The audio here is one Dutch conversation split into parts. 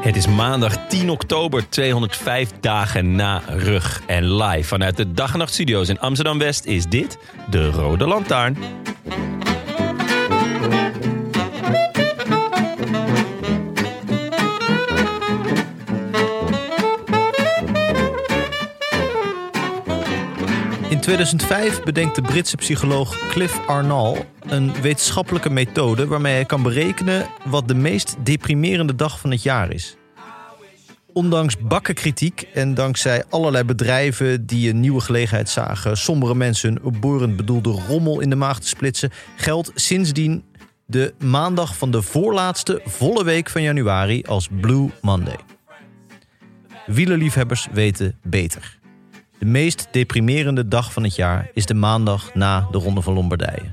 Het is maandag 10 oktober, 205 dagen na rug en live. Vanuit de Dag en Nacht Studio's in Amsterdam-West is dit de Rode Lantaarn. In 2005 bedenkt de Britse psycholoog Cliff Arnall een wetenschappelijke methode waarmee hij kan berekenen wat de meest deprimerende dag van het jaar is. Ondanks bakkenkritiek en dankzij allerlei bedrijven die een nieuwe gelegenheid zagen sombere mensen hun borend bedoelde rommel in de maag te splitsen, geldt sindsdien de maandag van de voorlaatste volle week van januari als Blue Monday. Wielerliefhebbers weten beter. De meest deprimerende dag van het jaar is de maandag na de Ronde van Lombardije.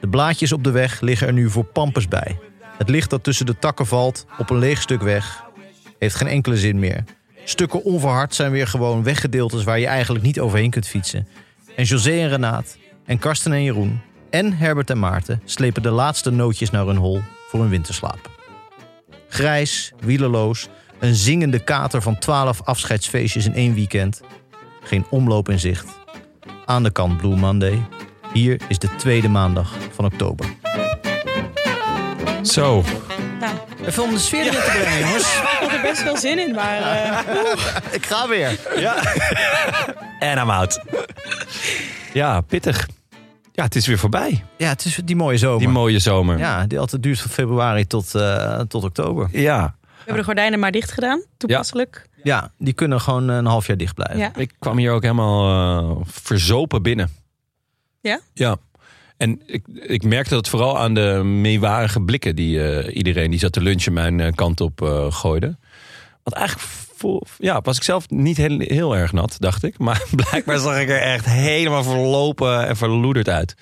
De blaadjes op de weg liggen er nu voor pampers bij. Het licht dat tussen de takken valt op een leeg stuk weg heeft geen enkele zin meer. Stukken onverhard zijn weer gewoon weggedeeltes waar je eigenlijk niet overheen kunt fietsen. En José en Renaat en Karsten en Jeroen en Herbert en Maarten slepen de laatste nootjes naar hun hol voor hun winterslaap. Grijs, wielerloos, een zingende kater van 12 afscheidsfeestjes in één weekend. Geen omloop in zicht. Aan de kant Blue Monday. Hier is de tweede maandag van oktober. Zo, Even om de sfeer erin te brengen, jongens. Ik had er best wel zin in, maar eh, Ik ga weer. en I'm out. Ja, pittig. Ja, het is weer voorbij, Ja, het is die mooie zomer. die mooie zomer. ja, die altijd duurt van februari tot, eh, tot oktober. Ja, we hebben de gordijnen maar dicht gedaan. Toepasselijk. Ja, die kunnen gewoon eh, een half jaar dicht blijven. Ja. ik kwam hier ook helemaal eh, verzopen binnen. Ja? Ja. En ik, ik merkte dat vooral aan de meewarige blikken die eh, iedereen die zat te lunchen mijn eh, kant op eh, gooide. Want eigenlijk vo- ja, was ik zelf niet heel, heel erg nat, dacht ik. Maar blijkbaar zag ik er echt helemaal verlopen en verloederd uit.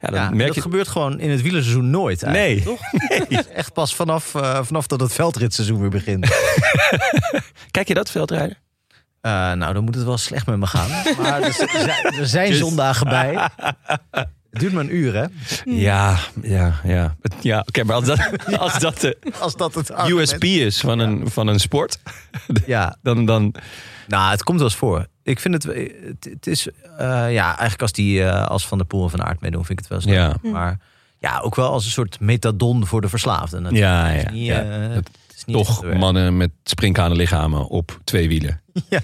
Ja, dan Ja, merk dat je. gebeurt gewoon in het wielerseizoen nooit. eigenlijk, Nee. Toch? Het is Echt pas vanaf, eh, vanaf dat het veldritseizoen weer begint. Kijk je dat veldrijden? Eh, nou, dan moet het wel slecht met me gaan. Maar er, z- zijn- er zijn zondagen bij. Het duurt maar een uur, hè? Ja, ja, ja. Het- ja Oké, maar als dat, als dat de Als dat het argument- USP is van een, van een sport, Ja, dan. dan Nou, het komt wel eens voor. Ik vind het, het, het is, eh, ja, eigenlijk als die, eh, als Van der Poel en Van Aert meedoen, vind ik het wel eens leuk. Ja. Maar ja, ook wel als een soort metadon voor de verslaafden. natuurlijk. ja, Het ja. is niet, ja. eh, Dat- het is niet echt eh, toch werk. mannen met sprinkhanen lichamen op twee wielen. Ja,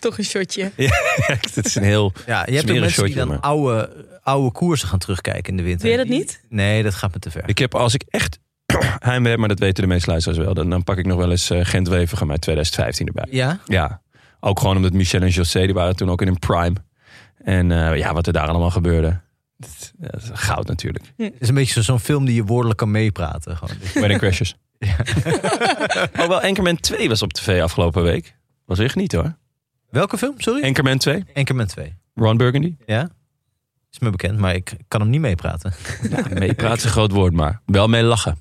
Toch een shotje. Het is een heel. ja, je hebt ook Smerig mensen die shotje, maar. dan oude, oude koersen gaan terugkijken in de winter. Doe je dat niet? Nee, dat gaat me te ver. Ik heb als ik echt heimwee heb, maar dat weten de meeste luisteraars wel, dan, dan pak ik nog wel eens eh, Gent Wevergem uit 2015 erbij. Ja? Ja, ook gewoon omdat Michel en José, die waren toen ook in een prime. En eh, ja, wat er daar allemaal gebeurde. Dat, dat is goud natuurlijk. Het is een beetje zo- zo'n film die je woordelijk kan meepraten. Gewoon. Wedding Crashers. oh, wel Anchorman 2 was op tv afgelopen week. Was echt niet hoor. Welke film? Sorry? Anchorman 2, Enkerman 2. Ron Burgundy. Ja? Is me bekend, maar ik kan hem niet meepraten. Ja, meepraat is een groot woord, maar wel mee lachen.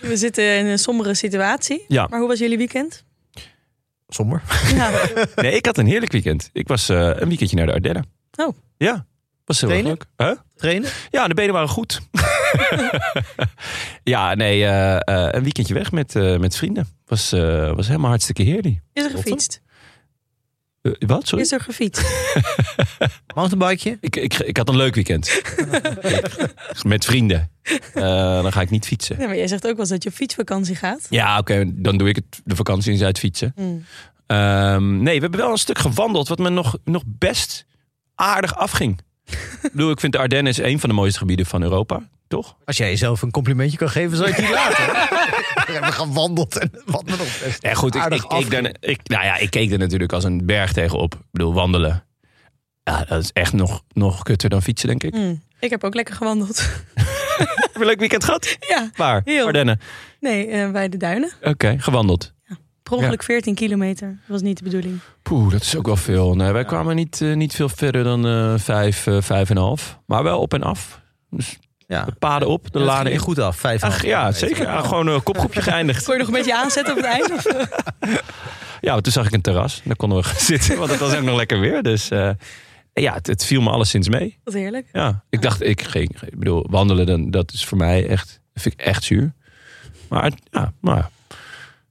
We zitten in een sombere situatie. Ja. Maar hoe was jullie weekend? Somber. Ja. Nee, ik had een heerlijk weekend. Ik was eh, een weekendje naar de Ardennen. Oh. Ja, was heel erg Benen? leuk. Huh? Trainen? Ja, de benen waren goed. ja, nee, eh, eh, een weekendje weg met, eh, met vrienden. Was, eh, was helemaal hartstikke heerlijk. Is er gefietst? Eh, wat? Sorry? Is er gefietst? Mountainbikeje? Ik, ik, ik had een leuk weekend. Ik- Met vrienden. Eh, dan ga ik niet fietsen. Ja, maar jij zegt ook wel eens dat je op fietsvakantie gaat. Ja, oké, dan doe ik het de vakantie in Zuid fietsen. Hmm. Ehm, nee, we hebben wel een stuk gewandeld wat me nog, nog best aardig afging. ik bedoel, ik vind de Ardennen is een van de mooiste gebieden van Europa, toch? Als jij jezelf een complimentje kan geven, zou ik die laten. We hebben gewandeld en wat me nog best. Nee, goed, ik, aardig ik, keek afging. daar- ik, nou ja, ik keek er natuurlijk als een berg tegenop. Ik bedoel, wandelen. Ja, dat is echt nog, nog kutter dan fietsen, denk ik. Hmm. Ik heb ook lekker gewandeld. Heb je een leuk weekend gehad? ja, Waar? Heel. Ardennen. nee, eh, bij de duinen. Oké, gewandeld. Per ongeluk 14 kilometer. Dat was niet de bedoeling. Poeh, dat is ook wel veel. Nee, wij kwamen niet, eh, niet veel verder dan eh, vijf, eh, vijf en een half. Maar wel op en af. Dus Ja. de paden op, de De laden laden je in. goed af. Vijf en een Ach, half ja, kilometer. zeker. Ah, gewoon een kopgroepje geëindigd. Kon je nog een beetje aanzetten op het eind? Of, eh? Ja, want toen zag ik een terras. Daar konden we gaan zitten, want het was ook nog lekker weer. Dus eh, ja, het, het viel me alleszins mee. Wat heerlijk. Ja, ik dacht, ik ging, ik bedoel, wandelen, dan, dat is voor mij echt, vind ik echt zuur. Maar het- ja, maar ja.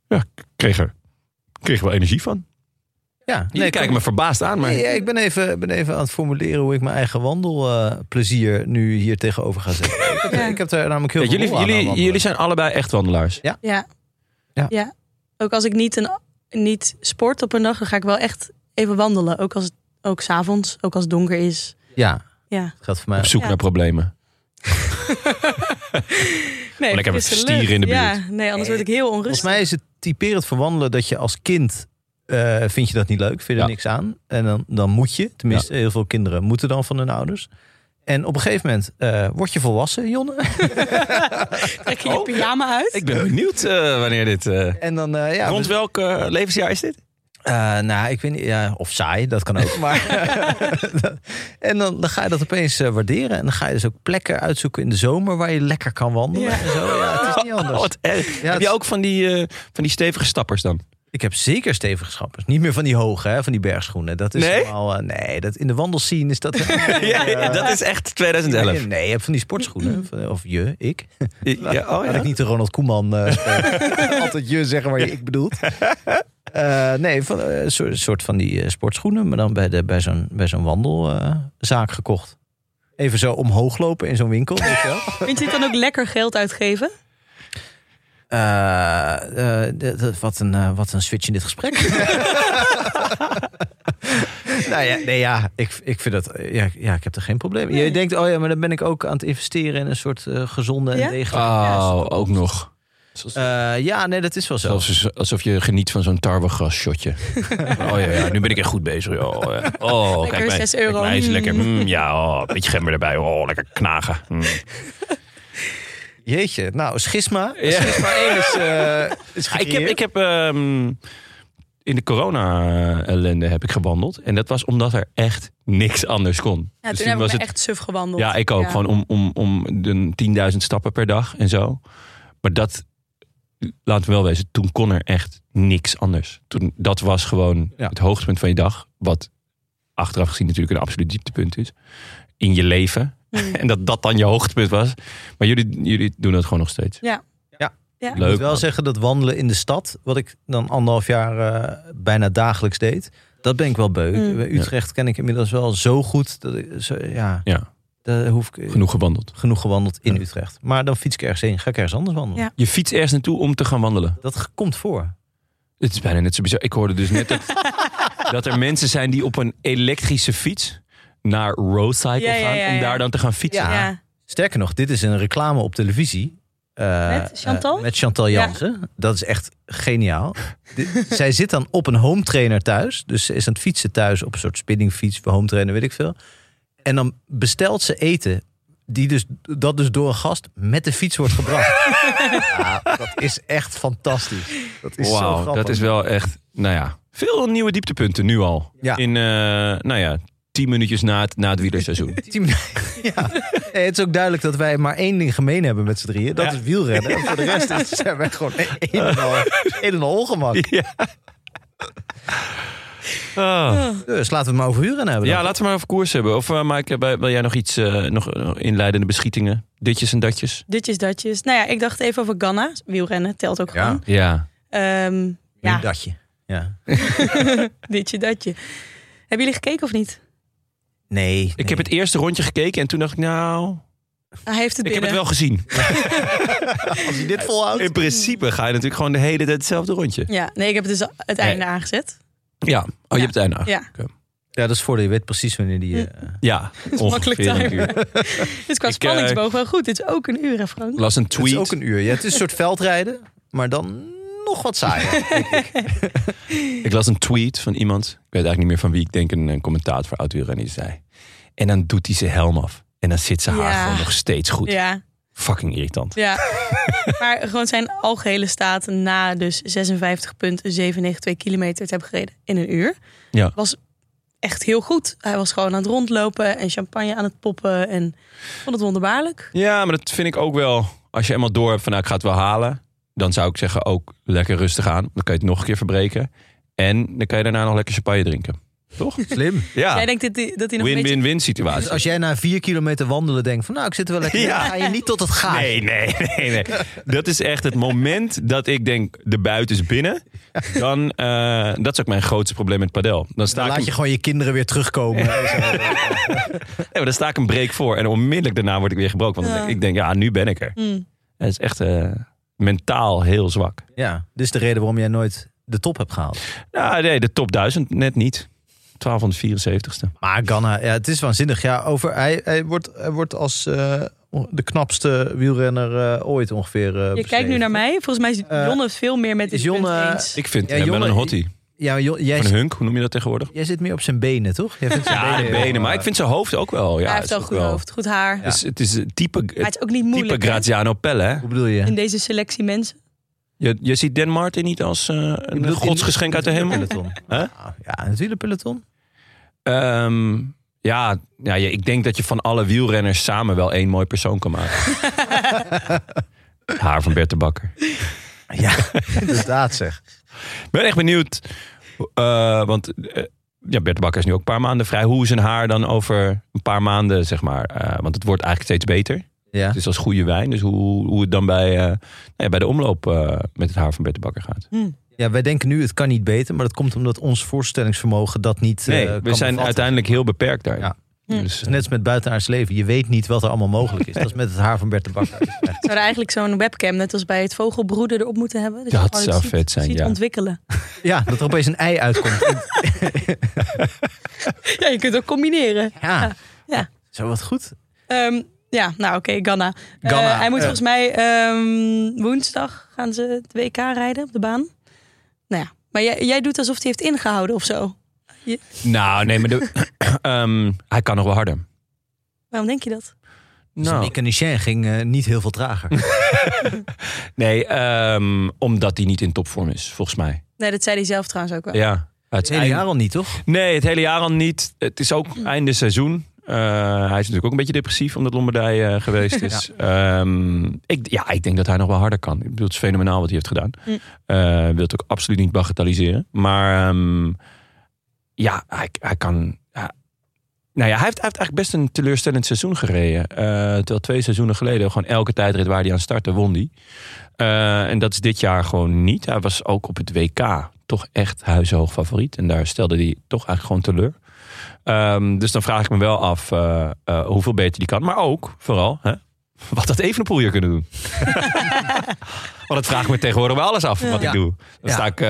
ja, ik kreeg er, ik kreeg er wel energie van. Ja, Jullie kijken me verbaasd aan, maar Nee, ja, ik ben even, ben even aan het formuleren hoe ik mijn eigen wandelplezier nu hier tegenover ga zetten. ik, heb, Ja. ik heb daar namelijk heel Ja, veel jullie, lol aan, aan jullie, wandelen. jullie zijn allebei echt wandelaars. Ja. Ja. Ook als ik niet, een, niet sport op een dag, dan ga ik wel echt even wandelen. Ook als het ook s'avonds, ook als het donker is. Ja, Ja. het gaat voor mij. Op zoek Ja. naar problemen. Nee, Lekker met frisse stieren in de lucht. Ja, nee, anders word ik heel Volgens onrustig. mij is het typerend voor wandelen dat je als kind eh, vind je dat niet leuk, vind je er Ja. niks aan. En dan, dan moet je, tenminste heel veel kinderen moeten dan van hun ouders. En op een gegeven moment eh, word je volwassen, Jonne. Trek je je Oh. pyjama uit. Ik ben benieuwd eh, wanneer dit... eh En dan, eh, ja, rond we- welk eh, levensjaar is dit? Eh, nou, ik weet niet. Ja, of saai, dat kan ook. Maar, en dan, dan ga je dat opeens eh, waarderen. En dan ga je dus ook plekken uitzoeken in de zomer waar je lekker kan wandelen. Ja. En zo. Ja, het is niet anders. Oh, wat erg. Ja, Heb je het- ook van die, eh, van die stevige stappers dan? Ik heb zeker stevige schappers. Niet meer van die hoge, hè, van die bergschoenen. Dat is Nee? helemaal, eh, nee, dat, in de wandelscene is dat... eh, Ja, ja, dat is echt 2011. Nee, nee, je hebt van die sportschoenen. Van- Of je, ik. Ja, oh, Laat ik ja. niet de Ronald Koeman eh, spelen. altijd je zeggen waar je ik bedoelt. Eh, nee, van, eh, een soort, soort van die eh, sportschoenen, maar dan bij, de- bij zo'n bij zo'n wandelzaak gekocht. Even zo omhoog lopen in zo'n winkel. Weet je wel? Vind je het dan ook lekker geld uitgeven? Eh, eh, d- d- wat, een, eh, wat een switch in dit gesprek. nou ja, nee, ja ik, ik vind dat. eh, Ja, ja, ik heb er geen probleem. mee. Je Nee. denkt, oh ja, maar dan ben ik ook aan het investeren in een soort eh, gezonde Ja? en degelijke. Oh, ook nog. Eh, ja, nee, dat is wel zo. Zelfs alsof je geniet van zo'n tarwegras shotje. Oh ja, ja, nu ben ik echt goed bezig. Oh, ja. oh Lekker kijk mij. zes kijk euro. mij is Mm. lekker. Mm, ja, oh, een beetje gember erbij. Oh, lekker knagen. Mm. Jeetje, nou, schisma. Ja. Schisma 1 is, eh, is Ja, Ah, ik heb, gecreëerd. ik heb ehm, in de corona-ellende heb ik gewandeld. En dat was omdat er echt niks anders kon. Ja, Dus toen hebben we was echt suf gewandeld. Ja, ik ook. Gewoon om, om, om de 10.000 stappen per dag en zo. Maar dat, laten we wel wezen, toen kon er echt niks anders. Toen, dat was gewoon Ja. het hoogtepunt van je dag. Wat achteraf gezien natuurlijk een absoluut dieptepunt is. In je leven. Hmm. En dat dat dan je hoogtepunt was. Maar jullie, jullie doen dat gewoon nog steeds. Ja. Ja. Ja. Ik Leuk. moet wel man. zeggen dat wandelen in de stad, wat ik dan anderhalf jaar eh, bijna dagelijks deed, dat ben ik wel beu. Mm. Bij Utrecht ken ik inmiddels wel zo goed. Dat ik, zo, ja, Ja, daar hoef ik genoeg, genoeg gewandeld. gewandeld in Ja. Utrecht. Maar dan fiets ik ergens heen, ga ik ergens anders wandelen. Ja. Je fietst ergens naartoe om te gaan wandelen. Dat komt voor. Het is bijna net zo bizar. Ik hoorde dus net dat, dat er mensen zijn die op een elektrische fiets naar Roadcycle Ja, ja, gaan. ja, Om ja. daar dan te gaan fietsen. Ja. Ja. Sterker nog, dit is een reclame op televisie. eh, Met Chantal? eh, met Chantal Ja. Jansen. Dat is echt geniaal. Dit- Zij zit dan op een home trainer thuis. Dus ze is aan het fietsen thuis op een soort spinningfiets, home trainer, weet ik veel. En dan bestelt ze eten, die dus, dat dus door een gast met de fiets wordt gebracht. ja, dat is echt fantastisch. Dat is zo Wauw, grappig. dat is wel echt, nou ja, veel nieuwe dieptepunten nu al. Ja. In, eh, nou ja, tien minuutjes na het, na het wielerseizoen. Tien minuten- Ja. Nee, het is ook duidelijk dat wij maar één ding gemeen hebben met z'n drieën. Dat Ja. is wielrennen. En voor de rest is, zijn wij gewoon een en al, een en al ongemak. ja. Ah. Dus laten we het maar over huren Oh. hebben. Ja, Ja, laten we maar over koers hebben. Of eh Maaike, bij- wil jij nog iets, eh, nog eh, inleidende beschietingen? Ditjes en datjes? Ditjes, datjes. Nou ja, ik dacht even over Ghana. Wielrennen telt ook Ja. gewoon. Ja. Ehm, ja, datje. Ja. Ditje, datje. Hebben jullie gekeken of niet? Nee. Ik heb het eerste rondje gekeken en toen dacht ik, nou, Hij heeft het ik heb binnen. het wel gezien. Als je dit Oh, volhoudt. In principe ga je natuurlijk gewoon de hele tijd hetzelfde rondje. Ja, nee, ik heb het dus het einde aangezet. Ja, oh, je hebt het einde Ja. aangekeken. Ja, dat is voordeel. Je weet precies wanneer die... eh, Ja, makkelijk ongeveer een timen. uur. Het is Dus qua Ik, eh, spanningsboog wel goed. Dit is ook een uur, hè Frank? Ik las een Het tweet. is ook een uur. Ja, het is een soort veldrijden, maar dan nog wat saaier. Ik las een tweet van iemand. Ik weet eigenlijk niet meer van wie. Ik denk een, een commentator voor oud en die zei. En dan doet hij zijn helm af. En dan zit zijn haar Ja. gewoon nog steeds goed. Ja, Fucking irritant. ja. maar gewoon zijn algehele staat na dus 56,792 kilometer te hebben gereden in een uur. Ja. Was echt heel goed. Hij was gewoon aan het rondlopen en champagne aan het poppen. En vond het wonderbaarlijk. Ja, maar dat vind ik ook wel. Als je eenmaal door hebt van nou, ik ga het wel halen. Dan zou ik zeggen ook lekker rustig aan. Dan kan je het nog een keer verbreken. En dan kan je daarna nog lekker champagne drinken. Toch? Slim. Jij Ja. denkt dat hij, dat hij nog een beetje... Win-win-win Dus situatie. als jij na vier kilometer wandelen denkt van nou, ik zit er wel lekker. in, Ja. dan ga je niet tot het gaan. Nee, nee, nee, nee. Dat is echt het moment dat ik denk, de buiten is binnen. Dan, eh, dat is ook mijn grootste probleem met padel. Dan sta Dan ik laat hem je gewoon je kinderen weer terugkomen. Nee, maar dan sta ik een break voor. En onmiddellijk daarna word ik weer gebroken. Want Ja. ik denk, ja, nu ben ik er. Mm. Het is echt eh, mentaal heel zwak. Ja, dit is de reden waarom jij nooit de top hebt gehaald. Nou, nee, de top 1000 net niet. 1274ste. Maar Ganna, ja, het is waanzinnig. Ja, over, hij, hij, wordt, hij wordt als eh, de knapste wielrenner eh, ooit ongeveer. eh, Je kijkt beschreven. nu naar mij. Volgens mij is Eh, Jonne veel meer met dit is Jonne- punt eens. eh, Ik vind Ja, hem wel jongen, een hottie. Ja, maar joh, jij, Een zit- hunk, hoe noem je dat tegenwoordig? jij zit meer op zijn benen, toch? Jij vindt zijn Ja, de heel, benen. Maar eh, ik vind zijn hoofd ook wel. Ja, hij is heeft al ook goed wel- hoofd, goed haar. Ja. Maar Het is, het is een type, het is ook niet type moeilijk hè, Graziano Pelle. Hè? Hoe bedoel je? in deze selectie mensen. Je, je ziet Dan Martin niet als eh, een bedoelt in- godsgeschenk uit de hemel. Peloton. Ah, Hè? Ja, in het wielerpeloton. Ehm, ja, ja, je- ik denk dat je van alle wielrenners samen wel één mooi persoon kan maken. Het Haar van Bert de Bakker. Ja, inderdaad zeg. Ik ben echt benieuwd. eh, want eh, ja, Bert de Bakker is nu ook een paar maanden vrij. Hoe is zijn haar dan over een paar maanden, zeg maar? eh, want het wordt eigenlijk steeds beter. Ja. Het is als goede wijn. Dus hoe, hoe het dan bij, eh, nou ja, bij de omloop eh, met het haar van Bert de Bakker gaat. ja, wij denken nu het kan niet beter, maar dat komt omdat ons voorstellingsvermogen dat niet. eh, Nee, kan we zijn bevatten. uiteindelijk heel beperkt daar. Ja. Dus, Het is Net als met buitenaards leven. Je weet niet wat er allemaal mogelijk is. Dat is met het haar van Bert de Bakker. Zou er eigenlijk zo'n webcam, net als bij het vogelbroeden, erop moeten hebben? Dus je Dat gewoon zou het ziet- vet zijn, ziet ja. ontwikkelen. Ja, dat er opeens een ei uitkomt. Ja, je kunt ook combineren. Ja. Ja. Zo wat goed. Ehm, ja, nou oké, Ganna. Eh, Ganna, hij moet ja. volgens mij ehm, woensdag gaan ze het WK rijden op de baan. Nou ja, maar jij, jij doet alsof hij heeft ingehouden of zo. nou, nee, maar de, ehm, hij kan nog wel harder. Waarom denk je dat? Nou. Nou, ging eh, niet heel veel trager. nee, ehm, omdat hij niet in topvorm is, volgens mij. Nee, dat zei hij zelf trouwens ook wel. Ja. Het Het hele jaar al niet, toch? Nee, het hele jaar al niet. Het is ook einde seizoen. Eh, hij is natuurlijk ook een beetje depressief omdat Lombardij eh, geweest is. Ehm, ik, ja, ik denk dat hij nog wel harder kan. Ik bedoel, het is fenomenaal wat hij heeft gedaan. Mm. Eh, wil het ook absoluut niet bagatelliseren. Maar ehm, ja, hij, hij kan. ja. nou ja, hij heeft, hij heeft eigenlijk best een teleurstellend seizoen gereden. Eh, terwijl twee seizoenen geleden gewoon elke tijdrit waar hij aan startte, won hij. Eh, en dat is dit jaar gewoon niet. Hij was ook op het WK toch echt huishoog favoriet. En daar stelde hij toch eigenlijk gewoon teleur. Ehm, dus dan vraag ik me wel af eh, eh, hoeveel beter die kan. Maar ook, vooral, hè, wat dat Evenepoel hier kunnen doen. Want dat vraag ik me tegenwoordig bij alles af wat Ja. ik doe. Dan Ja. sta ik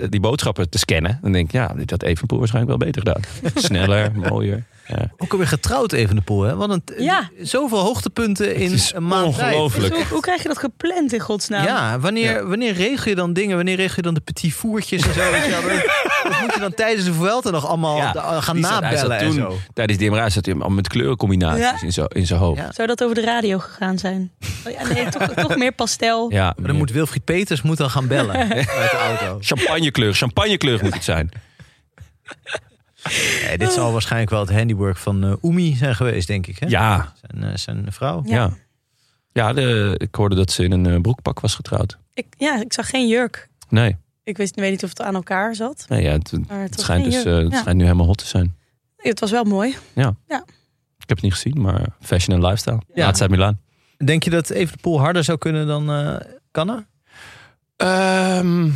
eh, die boodschappen te scannen. Dan denk ik, ja, dit had Evenepoel waarschijnlijk wel beter gedaan. Sneller, mooier. Ja. Ook alweer getrouwd even de poel, hè? Wat een, Ja. Zoveel hoogtepunten in is een maand tijd. ongelooflijk. Dus hoe, hoe krijg je dat gepland in godsnaam? Ja, wanneer, wanneer regel je dan dingen? Wanneer regel je dan de petit voertjes en zo? weet je wel? Dat- dat moet je dan tijdens de Vuelta nog allemaal Ja, de- Oh, eh, gaan Die zat- hij zat nabellen en toen, zo. Tijdens die MRA zat hij al met kleurencombinaties Ja. in zijn- in zijn hoofd. Ja. Zou dat over de radio gegaan zijn? Oh ja, nee, toch, toch meer pastel. Ja, Maar dan moet Wilfried Peters moet dan gaan bellen uit de auto. Champagnekleur, champagnekleur moet het zijn. Nee, Eh, dit zal waarschijnlijk wel het handiwork van eh Oemi zijn geweest, denk ik. Hè? Ja, Zijn, eh, zijn vrouw. Ja. ja. ja. de, ik hoorde dat ze in een eh, broekpak was getrouwd. Ik, ja, ik zag geen jurk. Nee, Ik wist, weet niet of het aan elkaar zat. nee ja, het, het Maar het, was schijnt, geen dus, jurk. eh, het Ja. schijnt nu helemaal hot te zijn. Het was wel mooi. Ik heb het niet gezien, maar fashion en lifestyle. Ja. Laatst uit Milaan. Denk je dat even de poel harder zou kunnen dan eh Ganna? Ehm,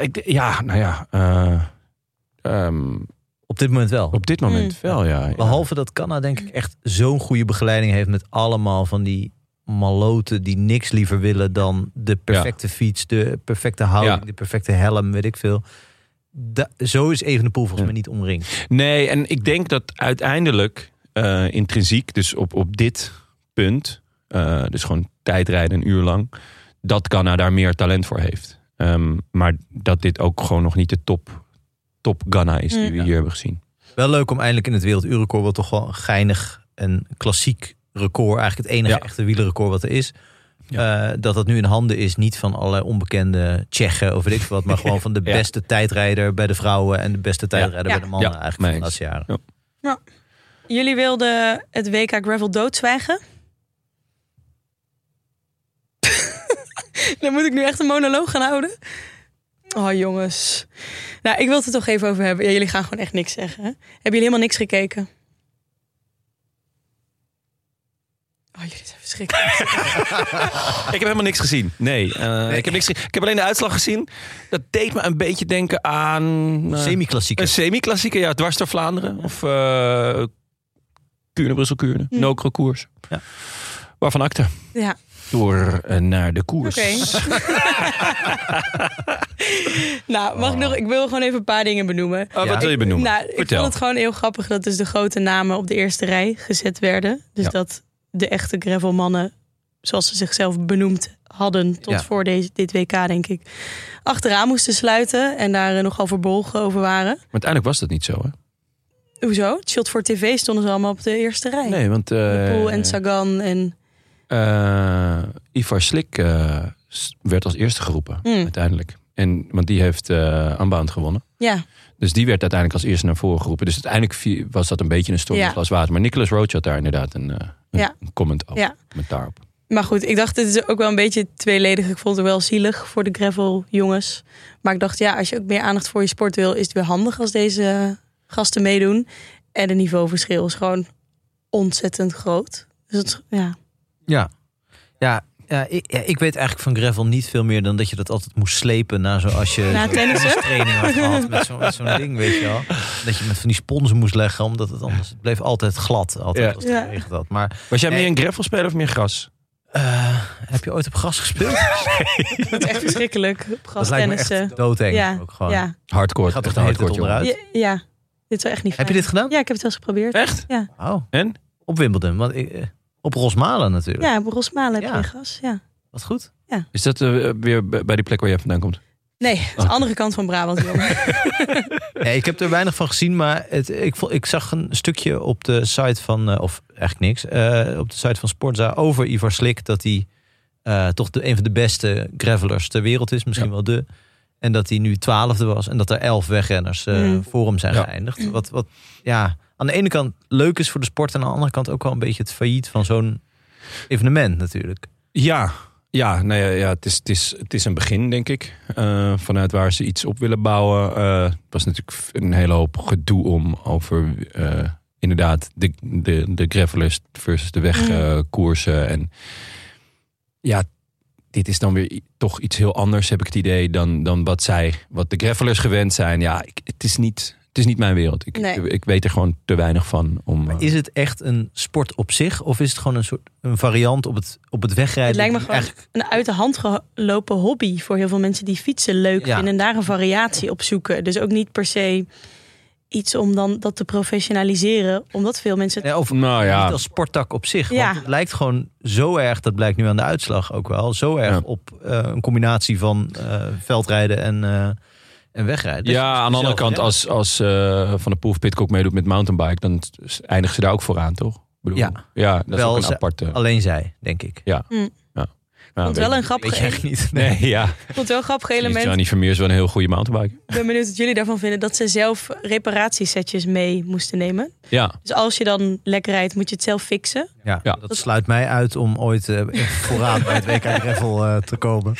Ik, ja, nou ja. eh, ehm, Op dit moment wel. op dit moment Mm. wel, ja. ja. Behalve dat Canada denk ik echt zo'n goede begeleiding heeft met allemaal van die maloten die niks liever willen dan de perfecte fiets, de perfecte houding, Ja. de perfecte helm, weet ik veel. Da- zo is Evenepoel volgens mij niet omringd. Nee, en ik denk dat uiteindelijk eh, intrinsiek, dus op, op dit punt, eh, dus gewoon tijdrijden een uur lang, dat Ghana daar meer talent voor heeft. Ehm, maar dat dit ook gewoon nog niet de top, top Ghana is die Mm. we hier hebben gezien. Wel leuk om eindelijk in het werelduurrecord, wat toch wel een geinig en klassiek record, eigenlijk het enige Ja. echte wielerrecord wat er is, eh, dat dat nu in handen is, niet van allerlei onbekende Tsjechen of weet ik veel wat, maar gewoon van de Ja. beste tijdrijder bij de vrouwen en de beste tijdrijder Ja. bij de mannen Ja, eigenlijk van de mee laatste jaren. Jullie wilden het WK Gravel doodzwijgen? Dan moet ik nu echt een monoloog gaan houden. Oh jongens. Nou, ik wil het er toch even over hebben. Ja, jullie gaan gewoon echt niks zeggen. Hè? Hebben jullie helemaal niks gekeken? Oh, jullie zijn verschrikkelijk. Ik heb helemaal niks gezien. Nee, eh, Ik, heb niks gezien. ik heb alleen de uitslag gezien. Dat deed me een beetje denken aan... eh, Semi-klassieker. Een semi-klassieker, ja. Dwars door Vlaanderen. Of eh Kuurne, Brussel-Kuurne. Hm. Nokere koers. Ja. Waarvan acte. Ja, Door eh, naar de koers. oké. Oh, nou, mag ik nog? Ik wil gewoon even een paar dingen benoemen. Oh, Ja. Wat wil je benoemen? Nou, ik Vertel. vond het gewoon heel grappig dat dus de grote namen op de eerste rij gezet werden. Dus Ja. dat de echte gravelmannen, zoals ze zichzelf benoemd hadden tot Ja. voor deze, dit WK, denk ik, achteraan moesten sluiten en daar eh, nogal verbolgen over waren. Maar uiteindelijk was dat niet zo, hè? Hoezo? Child voor TV stonden ze allemaal op de eerste rij. Nee, want... eh, De Poel en Sagan en... eh, Ivar Slik eh, s- werd als eerste geroepen, Hm. uiteindelijk. En, want die heeft eh Unbound gewonnen. Ja, Dus die werd uiteindelijk als eerste naar voren geroepen. Dus uiteindelijk vi- was dat een beetje een storm in Ja. een glas water. Maar Nicolas Roach had daar inderdaad een, eh, een, Ja. een comment op. Ja. Commentaar op. maar goed, ik dacht dit is ook wel een beetje tweeledig. Ik vond het wel zielig voor de gravel jongens. Maar ik dacht, ja, als je ook meer aandacht voor je sport wil, is het weer handig als deze gasten meedoen. En het niveauverschil is gewoon ontzettend groot. Dus het, ja. Ja. Ja, ja, ik, ja, ik weet eigenlijk van gravel niet veel meer dan dat je dat altijd moest slepen na zo als je Na zo'n tennissen? tennistraining had gehad met zo- met zo'n ding, weet je wel. Dat je met van die sponsen moest leggen, omdat het anders het bleef altijd glad, altijd Ja. als het Ja. geregend had. Maar Was jij Eh, meer een gravel speler of meer gras? eh, heb je ooit op gras gespeeld? Dat is echt verschrikkelijk. Op Dat gras lijkt me echt tennissen. doodeng. Ja, ook gewoon. ja. Hardcore. Gaat echt toch de hele tijd hardcore, jongen. onderuit? Ja, ja, dit is wel echt niet Heb je fijn. dit gedaan? Ja, ik heb het wel eens geprobeerd. Echt? Oh, En? op Wimbledon, want ik, eh, op Rosmalen natuurlijk. Ja, op Rosmalen heb Ja. je gas. Ja. Wat goed. Is dat eh, weer b- bij die plek waar jij vandaan komt? Nee, het is de andere kant van Brabant. jongen. Nee, ik heb er weinig van gezien, maar het, ik, vo- ik zag een stukje op de site van, eh, of eigenlijk niks, eh, op de site van Sportza over Ivar Slik dat hij eh, toch de, een van de beste gravelers ter wereld is, misschien wel de. En dat hij nu twaalfde was en dat er elf wegrenners eh, Mm. voor hem zijn Ja. geëindigd. Wat, wat ja, aan de ene kant leuk is voor de sport en aan de andere kant ook wel een beetje het failliet van zo'n evenement natuurlijk. Ja, ja, nou ja, ja het, is, het, is, het is een begin, denk ik. Eh, vanuit waar ze iets op willen bouwen. Eh, Het was natuurlijk f- een hele hoop gedoe om over eh, inderdaad de, de, de gravelers versus de wegkoersen. en ja, dit is dan weer i- toch iets heel anders, heb ik het idee, dan, dan wat zij, wat de gravelers gewend zijn. Ja, ik, het, is niet, het is niet mijn wereld. Ik, Nee. ik, ik weet er gewoon te weinig van om. eh, Is het echt een sport op zich of is het gewoon een soort een variant op het, op het wegrijden? Het lijkt me die gewoon een uit de hand gelopen hobby voor heel veel mensen die fietsen leuk Ja. vinden en daar een variatie op zoeken. Dus ook niet per se iets om dan dat te professionaliseren, omdat veel mensen het Ja, of nou ja, niet als sporttak op zich. Ja. Want het lijkt gewoon zo erg, dat blijkt nu aan de uitslag ook wel, zo erg Ja. op eh, een combinatie van eh, veldrijden en, eh, en wegrijden. Dus ja, aan de andere zelf, kant, hè? als, als eh, Van de Poel of Pitcock meedoet met mountainbike, dan s- eindigen ze daar ook vooraan, toch? Ik bedoel, Ja. ja, dat Wel, is ook ze- een aparte. Alleen zij, denk ik. ja, vond weet Oh, ik wel een grappig, Weet je echt niet. niet. Nee, ja. ik vond wel een grappig element. Johnny Vermeer is wel een heel goede mountainbiker. Ik ben benieuwd wat jullie daarvan vinden dat ze zelf reparatiesetjes mee moesten nemen. Ja, Dus als je dan lekker rijdt, moet je het zelf fixen. Ja, Ja. Dat sluit mij uit om ooit eh, vooraan bij het WK Gravel eh, te komen.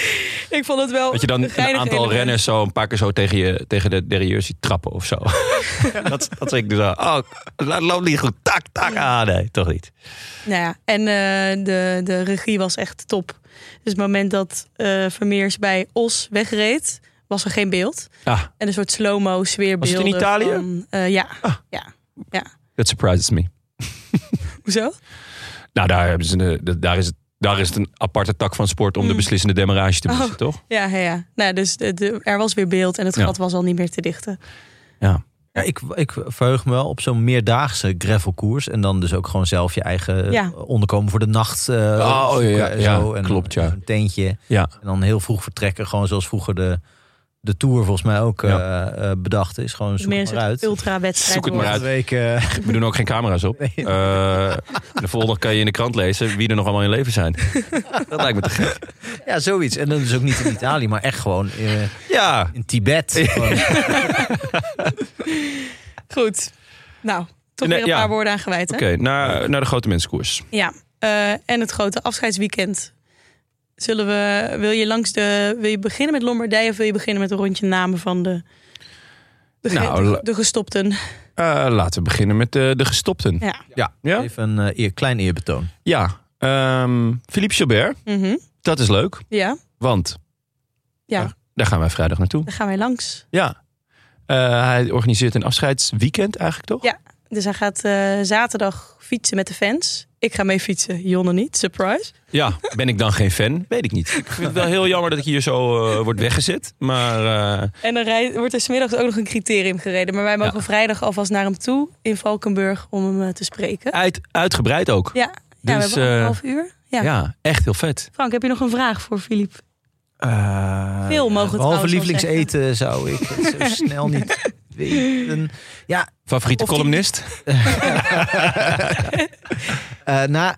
Ik vond het wel dat je dan een een geinig aantal element. renners zo een paar keer zo tegen, je, tegen de derrière ziet trappen of zo. dat, dat zeg ik dus aan. Oh, dat loopt niet goed. Tak, tak. Ah, nee, toch niet. Nou ja, en eh, de, de regie was echt top. Dus het moment dat eh Vermeers bij Os wegreed, was er geen beeld. Ah, En een soort slow-mo sfeerbeelden. Was het in Italië? van, eh, ja. Ah. ja. Ja. that surprises me. Hoezo? Nou, daar, hebben ze een, de- daar, is, het, daar is het een aparte tak van sport om de Mm. beslissende demarrage te missen, Oh. toch? Ja, ja, ja. Nou, dus de- de- er was weer beeld en het Ja. gat was al niet meer te dichten. Ja, ik, ik verheug me wel op zo'n meerdaagse gravelkoers. En dan dus ook gewoon zelf je eigen eh, Ja. onderkomen voor de nacht. eh, Oh, zoeken ja, en ja, zo. En klopt, ja. Een tentje. Ja. En dan heel vroeg vertrekken. Gewoon zoals vroeger de, de Tour volgens mij ook eh, eh, bedacht is. Gewoon zoek Meer een maar soort uit. ultra-wedstrijd. Zoek het maar worden. uit. Volgende week, eh, We doen ook geen camera's op. Nee. Eh, en de volgende kan je in de krant lezen wie er nog allemaal in leven zijn. Dat lijkt me te gek. ja, zoiets. En dan dus ook niet in Italië, maar echt gewoon eh, Ja, in Tibet. Gewoon- Goed. Nou, toch Nee, weer een ja. paar woorden aan gewijd. Hè? oké. naar, naar de grote mensenkoers. Ja, eh, en het grote afscheidsweekend. Zullen we, wil je langs de, wil je beginnen met Lombardije of wil je beginnen met een rondje namen van de, de, ge- Nou, de- la- de gestopten? Eh, laten we beginnen met eh, de gestopten. Ja. Ja? Even een eh, eer, klein eerbetoon. Ja. ehm, Philippe Gilbert, Mhm. dat is leuk. Ja, Want Ja. daar, daar gaan wij vrijdag naartoe. daar gaan wij langs. Ja. Eh, hij organiseert een afscheidsweekend eigenlijk, toch? Ja. Dus hij gaat eh, zaterdag fietsen met de fans. Ik ga mee fietsen, Jonne niet, surprise. Ja, ben ik dan geen fan? Weet ik niet. Ik vind het wel heel jammer dat ik hier zo eh, word weggezet. Maar eh, En dan rij- wordt er smiddags ook nog een criterium gereden. Maar wij mogen Ja. vrijdag alvast naar hem toe in Valkenburg om hem eh, te spreken. uit, uitgebreid ook. Ja, ja we Dus, hebben eh, anderhalf uur. Ja. Ja. echt heel vet. Frank, heb je nog een vraag voor Filip? Eh, Veel mogen Behalve we trouwens wel lievelingseten zou ik het zo snel niet weten. Ja, Favoriete Of die- columnist? Eh, nou,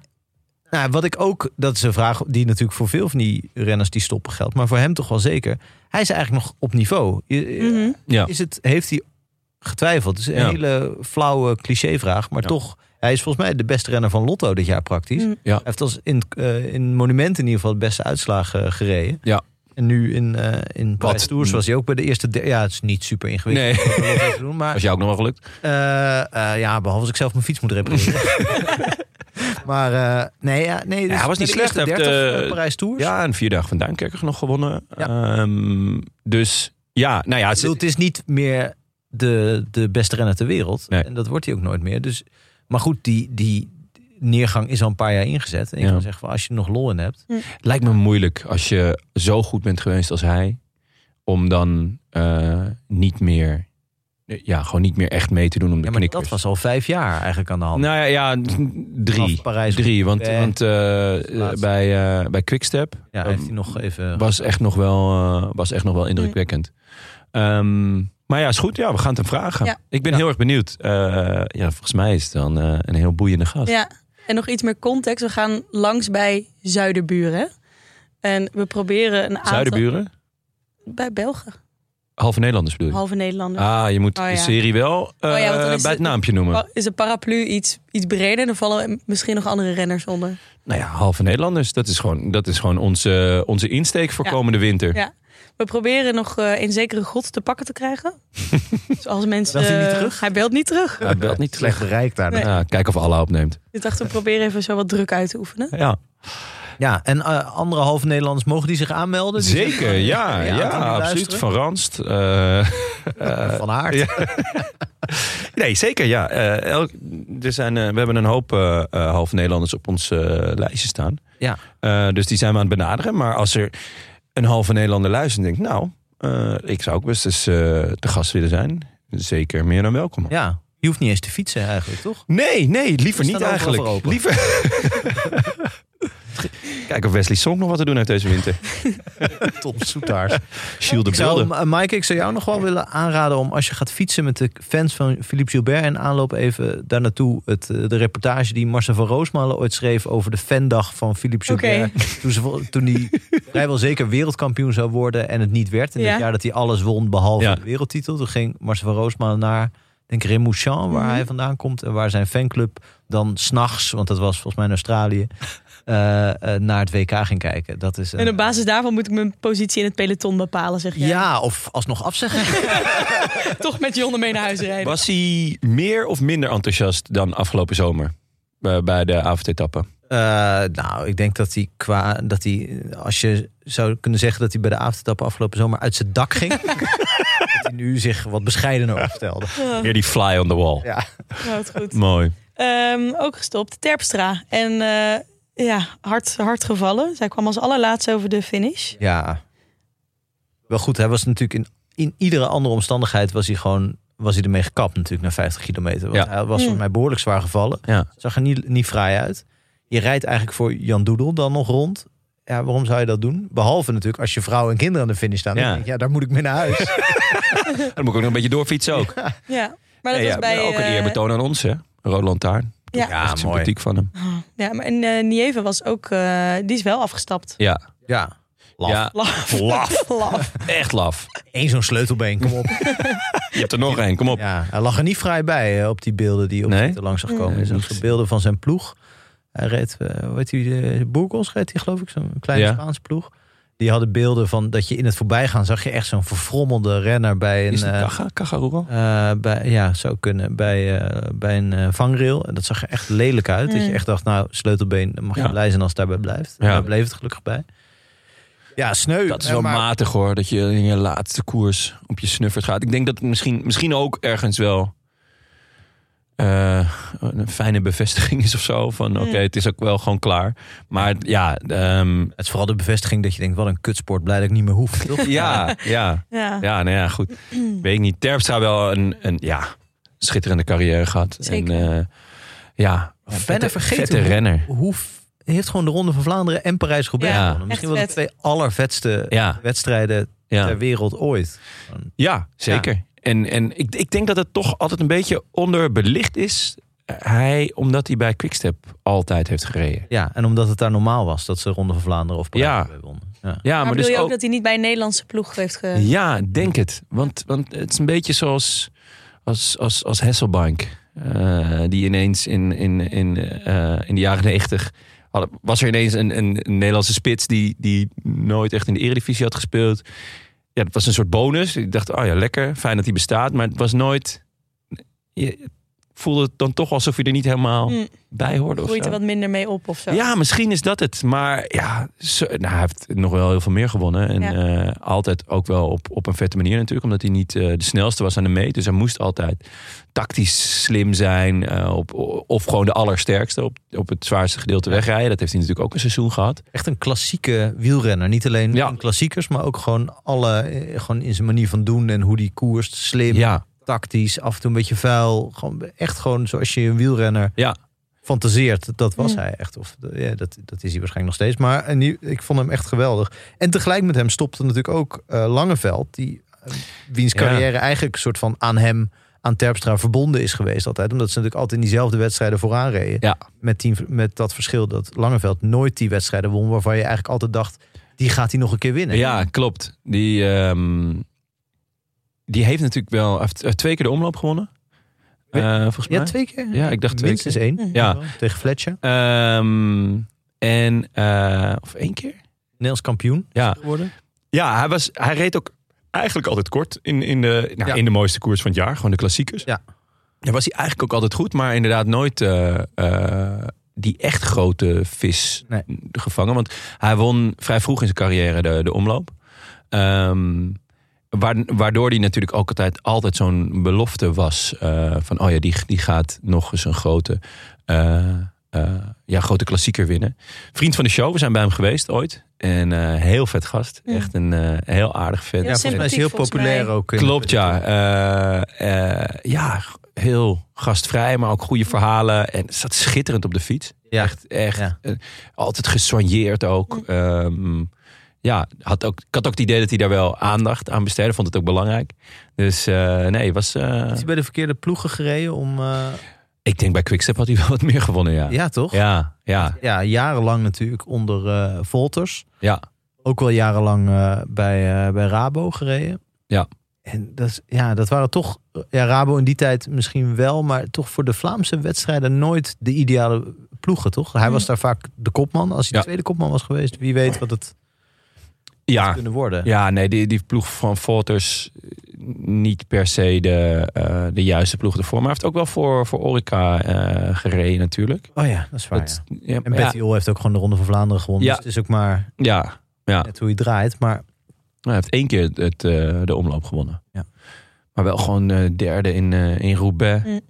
nou, wat ik ook, dat is een vraag die natuurlijk voor veel van die renners die stoppen geldt, maar voor hem toch wel zeker. Hij is eigenlijk nog op niveau. Je- Mhm. Ja. Is het, heeft hij getwijfeld? Het is een Ja. hele flauwe clichévraag, maar Ja. toch, hij is volgens mij de beste renner van Lotto dit jaar praktisch. Mhm. Ja. Hij heeft als in, eh, in monumenten in ieder geval de beste uitslagen eh, gereden. Ja. En nu in, eh in Parijs Tours mm. was hij ook bij de eerste. der- Ja, het is niet super Nee, ingewikkeld. om dat even te doen, maar was jou ook nog wel gelukt. eh, eh, ja, behalve als ik zelf mijn fiets moet repareren. maar eh, nee, ja, nee. dus hij was bij niet de slecht, hij eerste heeft, 30 eh, van Parijs Tours. Ja, en vier dagen van Duinkerker nog gewonnen. Ja. Ehm, dus ja, nou ja. Ik het- bedoel, het is niet meer de, de beste renner ter wereld. Nee. En dat wordt hij ook nooit meer. Dus, maar goed, die, die neergang is al een paar jaar ingezet. En ik Ja. kan zeggen, van, als je er nog lol in hebt. lijkt me moeilijk als je zo goed bent geweest als hij. Om dan eh, niet meer... Ja, gewoon niet meer echt mee te doen om de Ja, maar knikkers. dat was al vijf jaar eigenlijk aan de hand. Nou ja, ja drie. Vanaf Parijs. Drie, want, Eh, want eh, laatste. bij, eh bij Quickstep ja, heeft hij nog even... was echt nog wel, eh, was echt nog wel indrukwekkend. Ehm, maar ja, is goed. Ja, we gaan het hem vragen. Ja. Ik ben Ja. heel erg benieuwd. Eh, ja, volgens mij is het dan eh, een heel boeiende gast. Ja, en nog iets meer context. We gaan langs bij Zuiderburen. En we proberen een aantal... Zuiderburen? Bij Belgen, Halve Nederlanders bedoel je? halve Nederlander. Ah, je moet Oh, ja. de serie wel eh, Oh, ja, want dan is bij het het- Oh. naampje noemen. Maar Is een paraplu iets, iets breder? Dan vallen misschien nog andere renners onder. Nou ja, halve Nederlanders. Dat is gewoon, dat is gewoon onze, onze insteek voor Ja. komende winter. Ja. We proberen nog eh, een zekere god te pakken te krijgen. dus als mensen... Belt hij niet eh, terug? Hij belt niet terug. Hij belt niet slecht slecht. bereikt daar. Nee. kijk of Allah opneemt. Ik dacht, we proberen even zo wat druk uit te oefenen. Ja. Ja, en eh, andere halve Nederlanders, mogen die zich aanmelden? Die Zeker, zeggen, ja, ja, die nu absoluut. luisteren. Van Ranst. eh, Van Aert. ja. nee, zeker, ja. Eh, elk, er zijn, eh, we hebben een hoop eh, eh, half Nederlanders op ons eh, lijstje staan. Ja. Eh, dus die zijn we aan het benaderen. Maar als er een halve Nederlander luistert en denkt... nou, eh, ik zou ook best eens eh, te gast willen zijn. Zeker meer dan welkom. Ja, je hoeft niet eens te fietsen eigenlijk, toch? Nee, nee, liever We niet staan eigenlijk. overal voor open. Liever... Kijk of Wesley Song nog wat te doen uit deze winter. Tom Soetaars. Shield de Ik zou, Bulde. Ma- Maaike, ik zou jou nog wel willen aanraden om als je gaat fietsen met de fans van Philippe Gilbert en aanloop even daar naartoe het, eh, de reportage die Marcel van Roosmalen ooit schreef over de fandag van Philippe Gilbert. Toen, ze, vol- toen hij vrijwel zeker wereldkampioen zou worden en het niet werd. In Ja. het jaar dat hij alles won behalve Ja. de wereldtitel. Toen ging Marcel van Roosmalen naar, denk ik, Remouchamp, waar Mhm. hij vandaan komt en waar zijn fanclub dan s'nachts, want dat was volgens mij in Australië, eh, eh, naar het WK ging kijken. Dat is een- En op basis daarvan moet ik mijn positie in het peloton bepalen, zeg je. ja, of alsnog afzeggen. Toch met Jonne mee naar huis rijden. Was hij meer of minder enthousiast dan afgelopen zomer? eh, Bij de avondetappen? Eh, nou, ik denk dat hij qua dat hij, als je zou kunnen zeggen dat hij bij de avondetappen afgelopen zomer uit zijn dak ging, dat hij nu zich wat bescheidener opstelde. Ja, Weer die fly on the wall. Eh. Ja. nou, het goed. Mooi. Ehm, ook gestopt. Terpstra. En eh, ja, hard, hard gevallen. Zij kwam als allerlaatste over de finish. Ja. Wel goed, hij was natuurlijk in, in iedere andere omstandigheid was hij gewoon was hij ermee gekapt natuurlijk na 50 kilometer. Want Ja. hij was volgens Mm. mij behoorlijk zwaar gevallen. Ja. Zag er niet, niet fraai uit. Je rijdt eigenlijk voor Jan Doedel dan nog rond. Ja, waarom zou je dat doen? Behalve natuurlijk als je vrouw en kinderen aan de finish staan. Ja, Ja. denk je, ja daar moet ik mee naar huis. Dan moet ik ook nog een beetje doorfietsen ook. Ja, maar dat Nee, was ja, bij... ook een eh, eerbetoon aan ons, hè? Roland Lantaarn. Ja. Ja, Echt sympathiek van hem. Oh, Ja, maar en eh Nieve was ook... eh, die is wel afgestapt. Ja. Ja, laf. ja. Laf. Laf. Laf. Echt laf. Eén zo'n sleutelbeen, kom op. Je hebt er nog één, kom op. Ja, hij lag er niet vrij bij hè, op die beelden die op Nee? Twitter langs zag komen. Nee, Er zijn niet. ook beelden van zijn ploeg. Hij reed, eh, hoe heet die, eh Burgos reed hij geloof ik, zo'n kleine Ja. Spaanse ploeg. Die hadden beelden van dat je in het voorbijgaan zag je echt zo'n verfrommelde renner bij een... Is het eh, Caja- Cajaruro? eh, bij, ja, zou kunnen. Bij, eh, bij een eh, vangrail. En dat zag er echt lelijk uit. Dat je Mm. echt dacht, nou, sleutelbeen, dan mag je Ja. blij zijn als het daarbij blijft. Ja. Daar bleef het gelukkig bij. Ja, sneu. Dat is Eh, wel maar- matig hoor, dat je in je laatste koers op je snuffert gaat. Ik denk dat het misschien, misschien ook ergens wel eh, een fijne bevestiging is of zo. Van Hmm. oké, het is ook wel gewoon klaar. Maar ja, ehm, Het is vooral de bevestiging dat je denkt, wat een kutsport. Blij dat ik niet meer hoef. toch? ja, ja, Ja. ja, nou ja, goed. Weet ik niet. Terpstra wel een, een ja, schitterende carrière gehad. Zeker. En, eh, ja, vette, vergeten vette hoe- renner. hoe f- heeft gewoon de Ronde van Vlaanderen en Parijs-Roubaix Ja, gewonnen. echt Misschien wel de vet. twee allervetste Ja, wedstrijden ja. ter wereld ooit. Ja, zeker. En, en ik, ik denk dat het toch altijd een beetje onderbelicht is. eh, Hij, omdat hij bij Quickstep altijd heeft gereden. Ja, en omdat het daar normaal was dat ze Ronde van Vlaanderen of Parijs-Roubaix wonnen. Ja. Ja, maar, Maar, bedoel dus je ook, ook. dat hij niet bij een Nederlandse ploeg heeft ge... Ja, denk het. Want, want het is een beetje zoals als, als, als Hasselbank. eh, die ineens in, in, in, eh, in de jaren negentig... was er ineens een, een, een Nederlandse spits... Die, die nooit echt in de eredivisie had gespeeld. Ja, dat was een soort bonus. Ik dacht, oh ja, lekker. Fijn dat hij bestaat. Maar het was nooit... Je voelde het dan toch alsof je er niet helemaal Mm. bij hoorde. Of Groeit zo. er wat minder mee op of zo. Ja, misschien is dat het. Maar ja, zo- nou, hij heeft nog wel heel veel meer gewonnen. En Ja. eh, altijd ook wel op, op een vette manier natuurlijk. Omdat hij niet eh, de snelste was aan de meet. Dus hij moest altijd tactisch slim zijn. eh, op, of gewoon de allersterkste op, op het zwaarste gedeelte wegrijden. Dat heeft hij natuurlijk ook een seizoen gehad. Echt een klassieke wielrenner. Niet alleen Ja. in klassiekers, maar ook gewoon, alle, eh, gewoon in zijn manier van doen en hoe die koerst. Slim, Ja, tactisch, af en toe een beetje vuil. Gewoon, echt gewoon zoals je een wielrenner ja. fantaseert. Dat was Mm. hij echt. Of, ja, dat, dat is hij waarschijnlijk nog steeds. Maar en die- ik vond hem echt geweldig. En tegelijk met hem stopte natuurlijk ook eh, Langeveld. Die, eh, wiens Ja. carrière eigenlijk een soort van aan hem, aan Terpstra verbonden is geweest altijd. Omdat ze natuurlijk altijd in diezelfde wedstrijden vooraan reden. Ja. Met, die, met dat verschil dat Langeveld nooit die wedstrijden won. Waarvan je eigenlijk altijd dacht, die gaat hij nog een keer winnen. Ja, klopt. Die, ehm, die heeft natuurlijk wel hij heeft, eh, twee keer de omloop gewonnen. Twee- Eh, volgens mij. Ja, twee keer. Ja, ik dacht twee Minstens keer. één. Ja. Tegen Fletcher. Ehm, en, eh, of één keer? Nederlands kampioen Ja. geworden. Ja, hij, was, hij reed ook eigenlijk altijd kort in, in, de, nou, Ja. in de mooiste koers van het jaar. Gewoon de klassiekers. Ja. Ja, was hij eigenlijk ook altijd goed. Maar inderdaad nooit eh, eh, die echt grote vis Nee. gevangen. Want hij won vrij vroeg in zijn carrière de, de omloop. Ehm, waar- waardoor hij natuurlijk ook altijd, altijd zo'n belofte was. eh, van oh ja, die, die gaat nog eens een grote, eh, eh, ja, grote klassieker winnen. Vriend van de show, we zijn bij hem geweest ooit. En eh, heel vet gast. Ja. Echt een eh, heel aardig vet. Ja, Ja, volgens mij is sympathiek, hij heel volgens populair mij. ook. in- Klopt, ja. Eh, eh, ja, g- heel gastvrij, maar ook goede verhalen. En zat schitterend op de fiets. Ja. Echt, echt. Ja. eh, altijd gesoigneerd ook. Ehm, ja, had ook, ik had ook het idee dat hij daar wel aandacht aan besteedde. Vond het ook belangrijk. Dus eh, nee, was... eh, Is hij bij de verkeerde ploegen gereden om... eh, ik denk bij Quickstep had hij wel wat meer gewonnen, ja. ja, toch? ja, ja. ja, jarenlang natuurlijk onder eh, Volters. ja. Ook wel jarenlang eh, bij, eh, bij Rabo gereden. Ja. En dat, is- ja, dat waren toch, ja, Rabo in die tijd misschien wel, maar toch voor de Vlaamse wedstrijden nooit de ideale ploegen, toch? Hij was daar vaak de kopman. Als hij Ja. de tweede kopman was geweest, wie weet wat het ja. Ah. kunnen worden. Ja, nee, die, die ploeg van Volters, eh, niet per se de, eh, de juiste ploeg ervoor. Maar hij heeft ook wel voor, voor Orica eh, gereden natuurlijk. Oh ja, dat is waar. Dat- ja. ja, En ja, Betty Ol heeft ook gewoon de Ronde van Vlaanderen gewonnen. Ja. Dus het is ook maar ja, ja. net hoe hij draait. Maar Hij heeft één keer het, het, eh, de omloop gewonnen. Ja. Maar wel gewoon eh, derde in, eh, in Roubaix. Mm.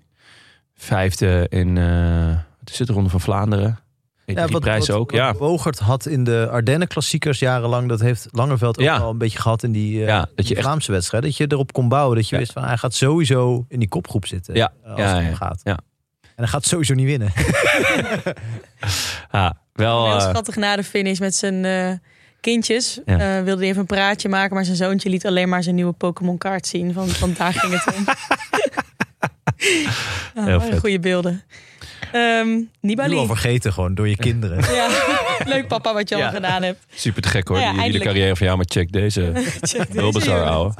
Vijfde in eh wat is het, de Ronde van Vlaanderen. Die Ja, wat- prijs wat- ook, wat ja. Bogert had in de Ardennen klassiekers jarenlang, dat heeft Langeveld ook Ja. al een beetje gehad in die, eh, Ja, die dat je echt- Vlaamse wedstrijd. Dat je erop kon bouwen, dat je Ja. wist van hij gaat sowieso in die kopgroep zitten. Ja, eh, als ja, het ja, om gaat. ja. En hij gaat sowieso niet winnen. ja wel, Heel eh, schattig na de finish met zijn eh, kindjes. Ja. Eh, wilde hij even een praatje maken, maar zijn zoontje liet alleen maar zijn nieuwe Pokémon kaart zien. Van, van daar ging het om. Heel Ja, waren vet. goede beelden. Ehm Nu al Nibali. vergeten gewoon door je kinderen. Ja, leuk papa wat je Ja. al gedaan hebt. super te gek hoor. Nou ja, die, hele eindelijk. carrière van jou, maar check deze. Check deze Heel bizar, jongen. ouwe.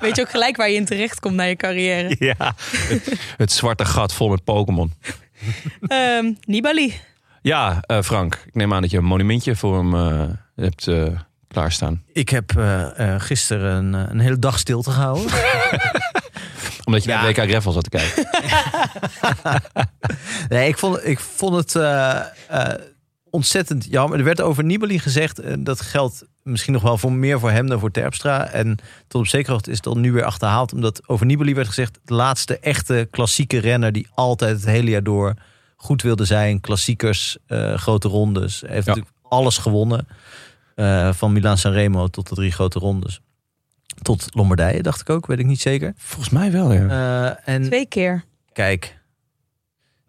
Weet je ook gelijk waar je in terecht komt na je carrière. Ja, het, het zwarte gat vol met Pokémon. Ehm, Nibali. Ja, eh, Frank, ik neem aan dat je een monumentje voor hem eh, hebt eh, klaarstaan. Ik heb eh, eh, gisteren een, een hele dag stilte gehouden. Omdat je Ja. naar WK Gravel zat te kijken. Nee, ik vond, ik vond het eh, eh, ontzettend jammer. Er werd over Nibali gezegd, eh, dat geldt misschien nog wel voor meer voor hem dan voor Terpstra. En tot op zekere hoogte is het al nu weer achterhaald. Omdat over Nibali werd gezegd, de laatste echte klassieke renner... die altijd het hele jaar door goed wilde zijn. Klassiekers, eh, grote rondes. Hij heeft Ja. natuurlijk alles gewonnen. eh, van Milaan Sanremo tot de drie grote rondes. Tot Lombardije, dacht ik ook, weet ik niet zeker. Volgens mij wel, ja. Eh, en Twee keer. kijk...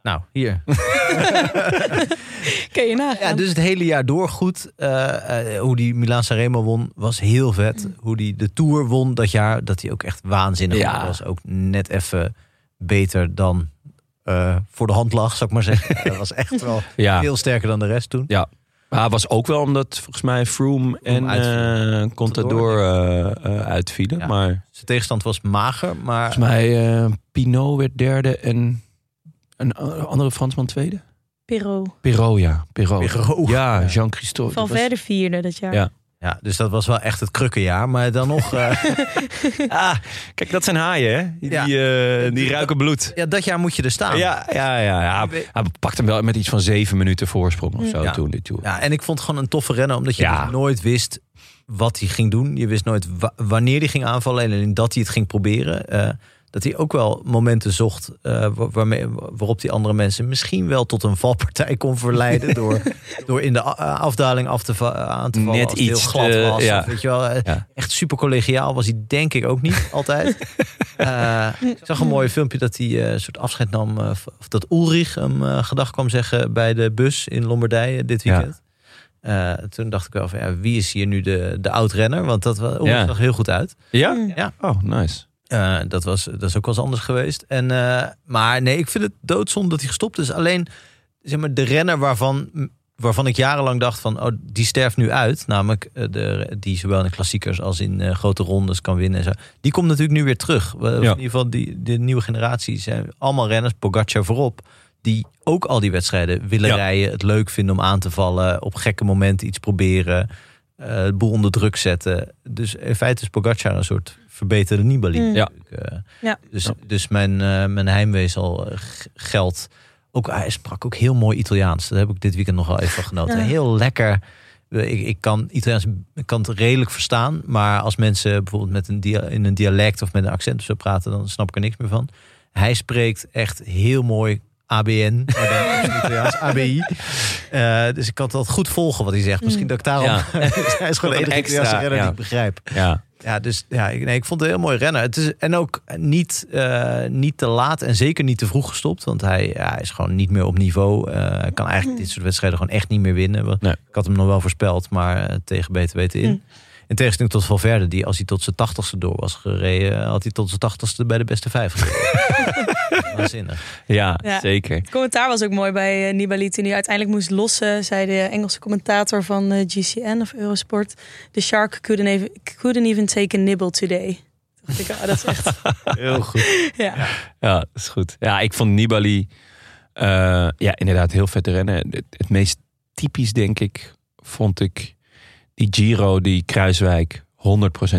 Nou, hier. Kun je nagaan. Ja, dus het hele jaar door goed. Eh, eh, hoe die Milaan Sanremo won, was heel vet. Hoe die de Tour won dat jaar, dat hij ook echt waanzinnig Ja. goed was. Ook net even beter dan eh, voor de hand lag, zou ik maar zeggen. Hij was echt wel ja. veel sterker dan de rest toen. Maar het was ook wel omdat volgens mij Froome en uitviel. eh Contador eh, eh, uitvielen. Ja. Maar Zijn tegenstand was mager, maar volgens mij eh, Pinot werd derde en een a- andere Fransman tweede. Pirro. Perot, ja. Perot. Perrault. Ja, Jean-Christophe. Van Oh, Dat was- verder vierde dat jaar. Ja. Ja, dus dat was wel echt het krukkenjaar. Maar dan nog, eh, Ah, kijk, dat zijn haaien, hè? Die, Ja. eh, die ruiken bloed. ja, dat jaar moet je er staan. Ja, ja, ja. ja. Hij pakte hem wel met iets van zeven minuten voorsprong of zo Mm. Ja. toen. Dit tour. Ja, en ik vond het gewoon een toffe rennen, omdat je Ja. dus nooit wist wat hij ging doen. Je wist nooit wa- wanneer hij ging aanvallen en alleen dat hij het ging proberen. Eh, dat hij ook wel momenten zocht eh, wa- waarmee, wa- waarop die andere mensen misschien wel tot een valpartij kon verleiden. door, door in de a- eh, afdaling af te va- aan te vallen. Net als het iets heel glad te- was. ja. Of weet je wel, eh, Ja. Echt super collegiaal was hij, denk ik ook niet altijd. Eh, ik zag een mooi filmpje dat hij eh, een soort afscheid nam. eh, v- of dat Ulrich hem eh, gedag kwam zeggen bij de bus in Lombardije dit Ja. weekend. Eh, toen dacht ik wel van ja, wie is hier nu de, de oud-renner? Want dat was, Ja. zag heel goed uit. Ja? Ja. Oh, nice. Eh, dat, was, dat is ook wel eens anders geweest. En, eh, maar nee, ik vind het doodzonde dat hij gestopt is. Alleen zeg maar, de renner waarvan, waarvan ik jarenlang dacht van... Oh, die sterft nu uit. Namelijk eh, de, die zowel in de klassiekers als in eh, grote rondes kan winnen. En zo. Die komt natuurlijk nu weer terug. We- In ieder geval die, de nieuwe generatie zijn allemaal renners. Pogacar voorop. Die ook al die wedstrijden willen Ja. rijden. Het leuk vinden om aan te vallen. Op gekke momenten iets proberen. eh, het boel onder druk zetten. Dus in feite is Pogacar een soort verbeterde Nibali. Mm. Ja. natuurlijk, eh. Ja. Dus, dus mijn, eh, mijn heimwee zal eh, g- geld. Ook, hij sprak ook heel mooi Italiaans. Daar heb ik dit weekend nog wel even van genoten. Ja. Heel lekker. Eh, Ik, ik kan Italiaans ik kan het redelijk verstaan. Maar als mensen bijvoorbeeld met een dia- in een dialect of met een accent of zo praten, dan snap ik er niks meer van. Hij spreekt echt heel mooi ABN. Maar dan is het Italiaans, ABI. Eh, dus ik kan dat goed volgen wat hij zegt. Mm. Misschien dat ik daarom... Ja. hij is gewoon de enige Extra, Italiaanse renner ja. die ik begrijp. Ja. Ja, dus ja, ik, nee, ik vond het een heel mooi rennen. Het is, en ook niet, eh, niet te laat en zeker niet te vroeg gestopt. Want hij, ja, hij is gewoon niet meer op niveau. Eh, Hij kan eigenlijk dit soort wedstrijden gewoon echt niet meer winnen. Want Nee. Ik had hem nog wel voorspeld, maar eh, tegen beter weten in. In tegenstelling tot Valverde, die als hij tot zijn tachtigste door was gereden... had hij tot zijn tachtigste bij de beste vijf gereden. Waanzinnig. Ja, Ja. zeker. Het commentaar was ook mooi bij eh, Nibali toen hij uiteindelijk moest lossen. Zei de Engelse commentator van eh, GCN of Eurosport. The shark couldn't even, couldn't even take a nibble today. Toen dacht ik, ah, dat is echt... Heel goed. ja. Ja, dat is goed. Ja, ik vond Nibali eh, ja, inderdaad heel vet rennen. Het, het meest typisch, denk ik, vond ik die Giro die Kruiswijk 100%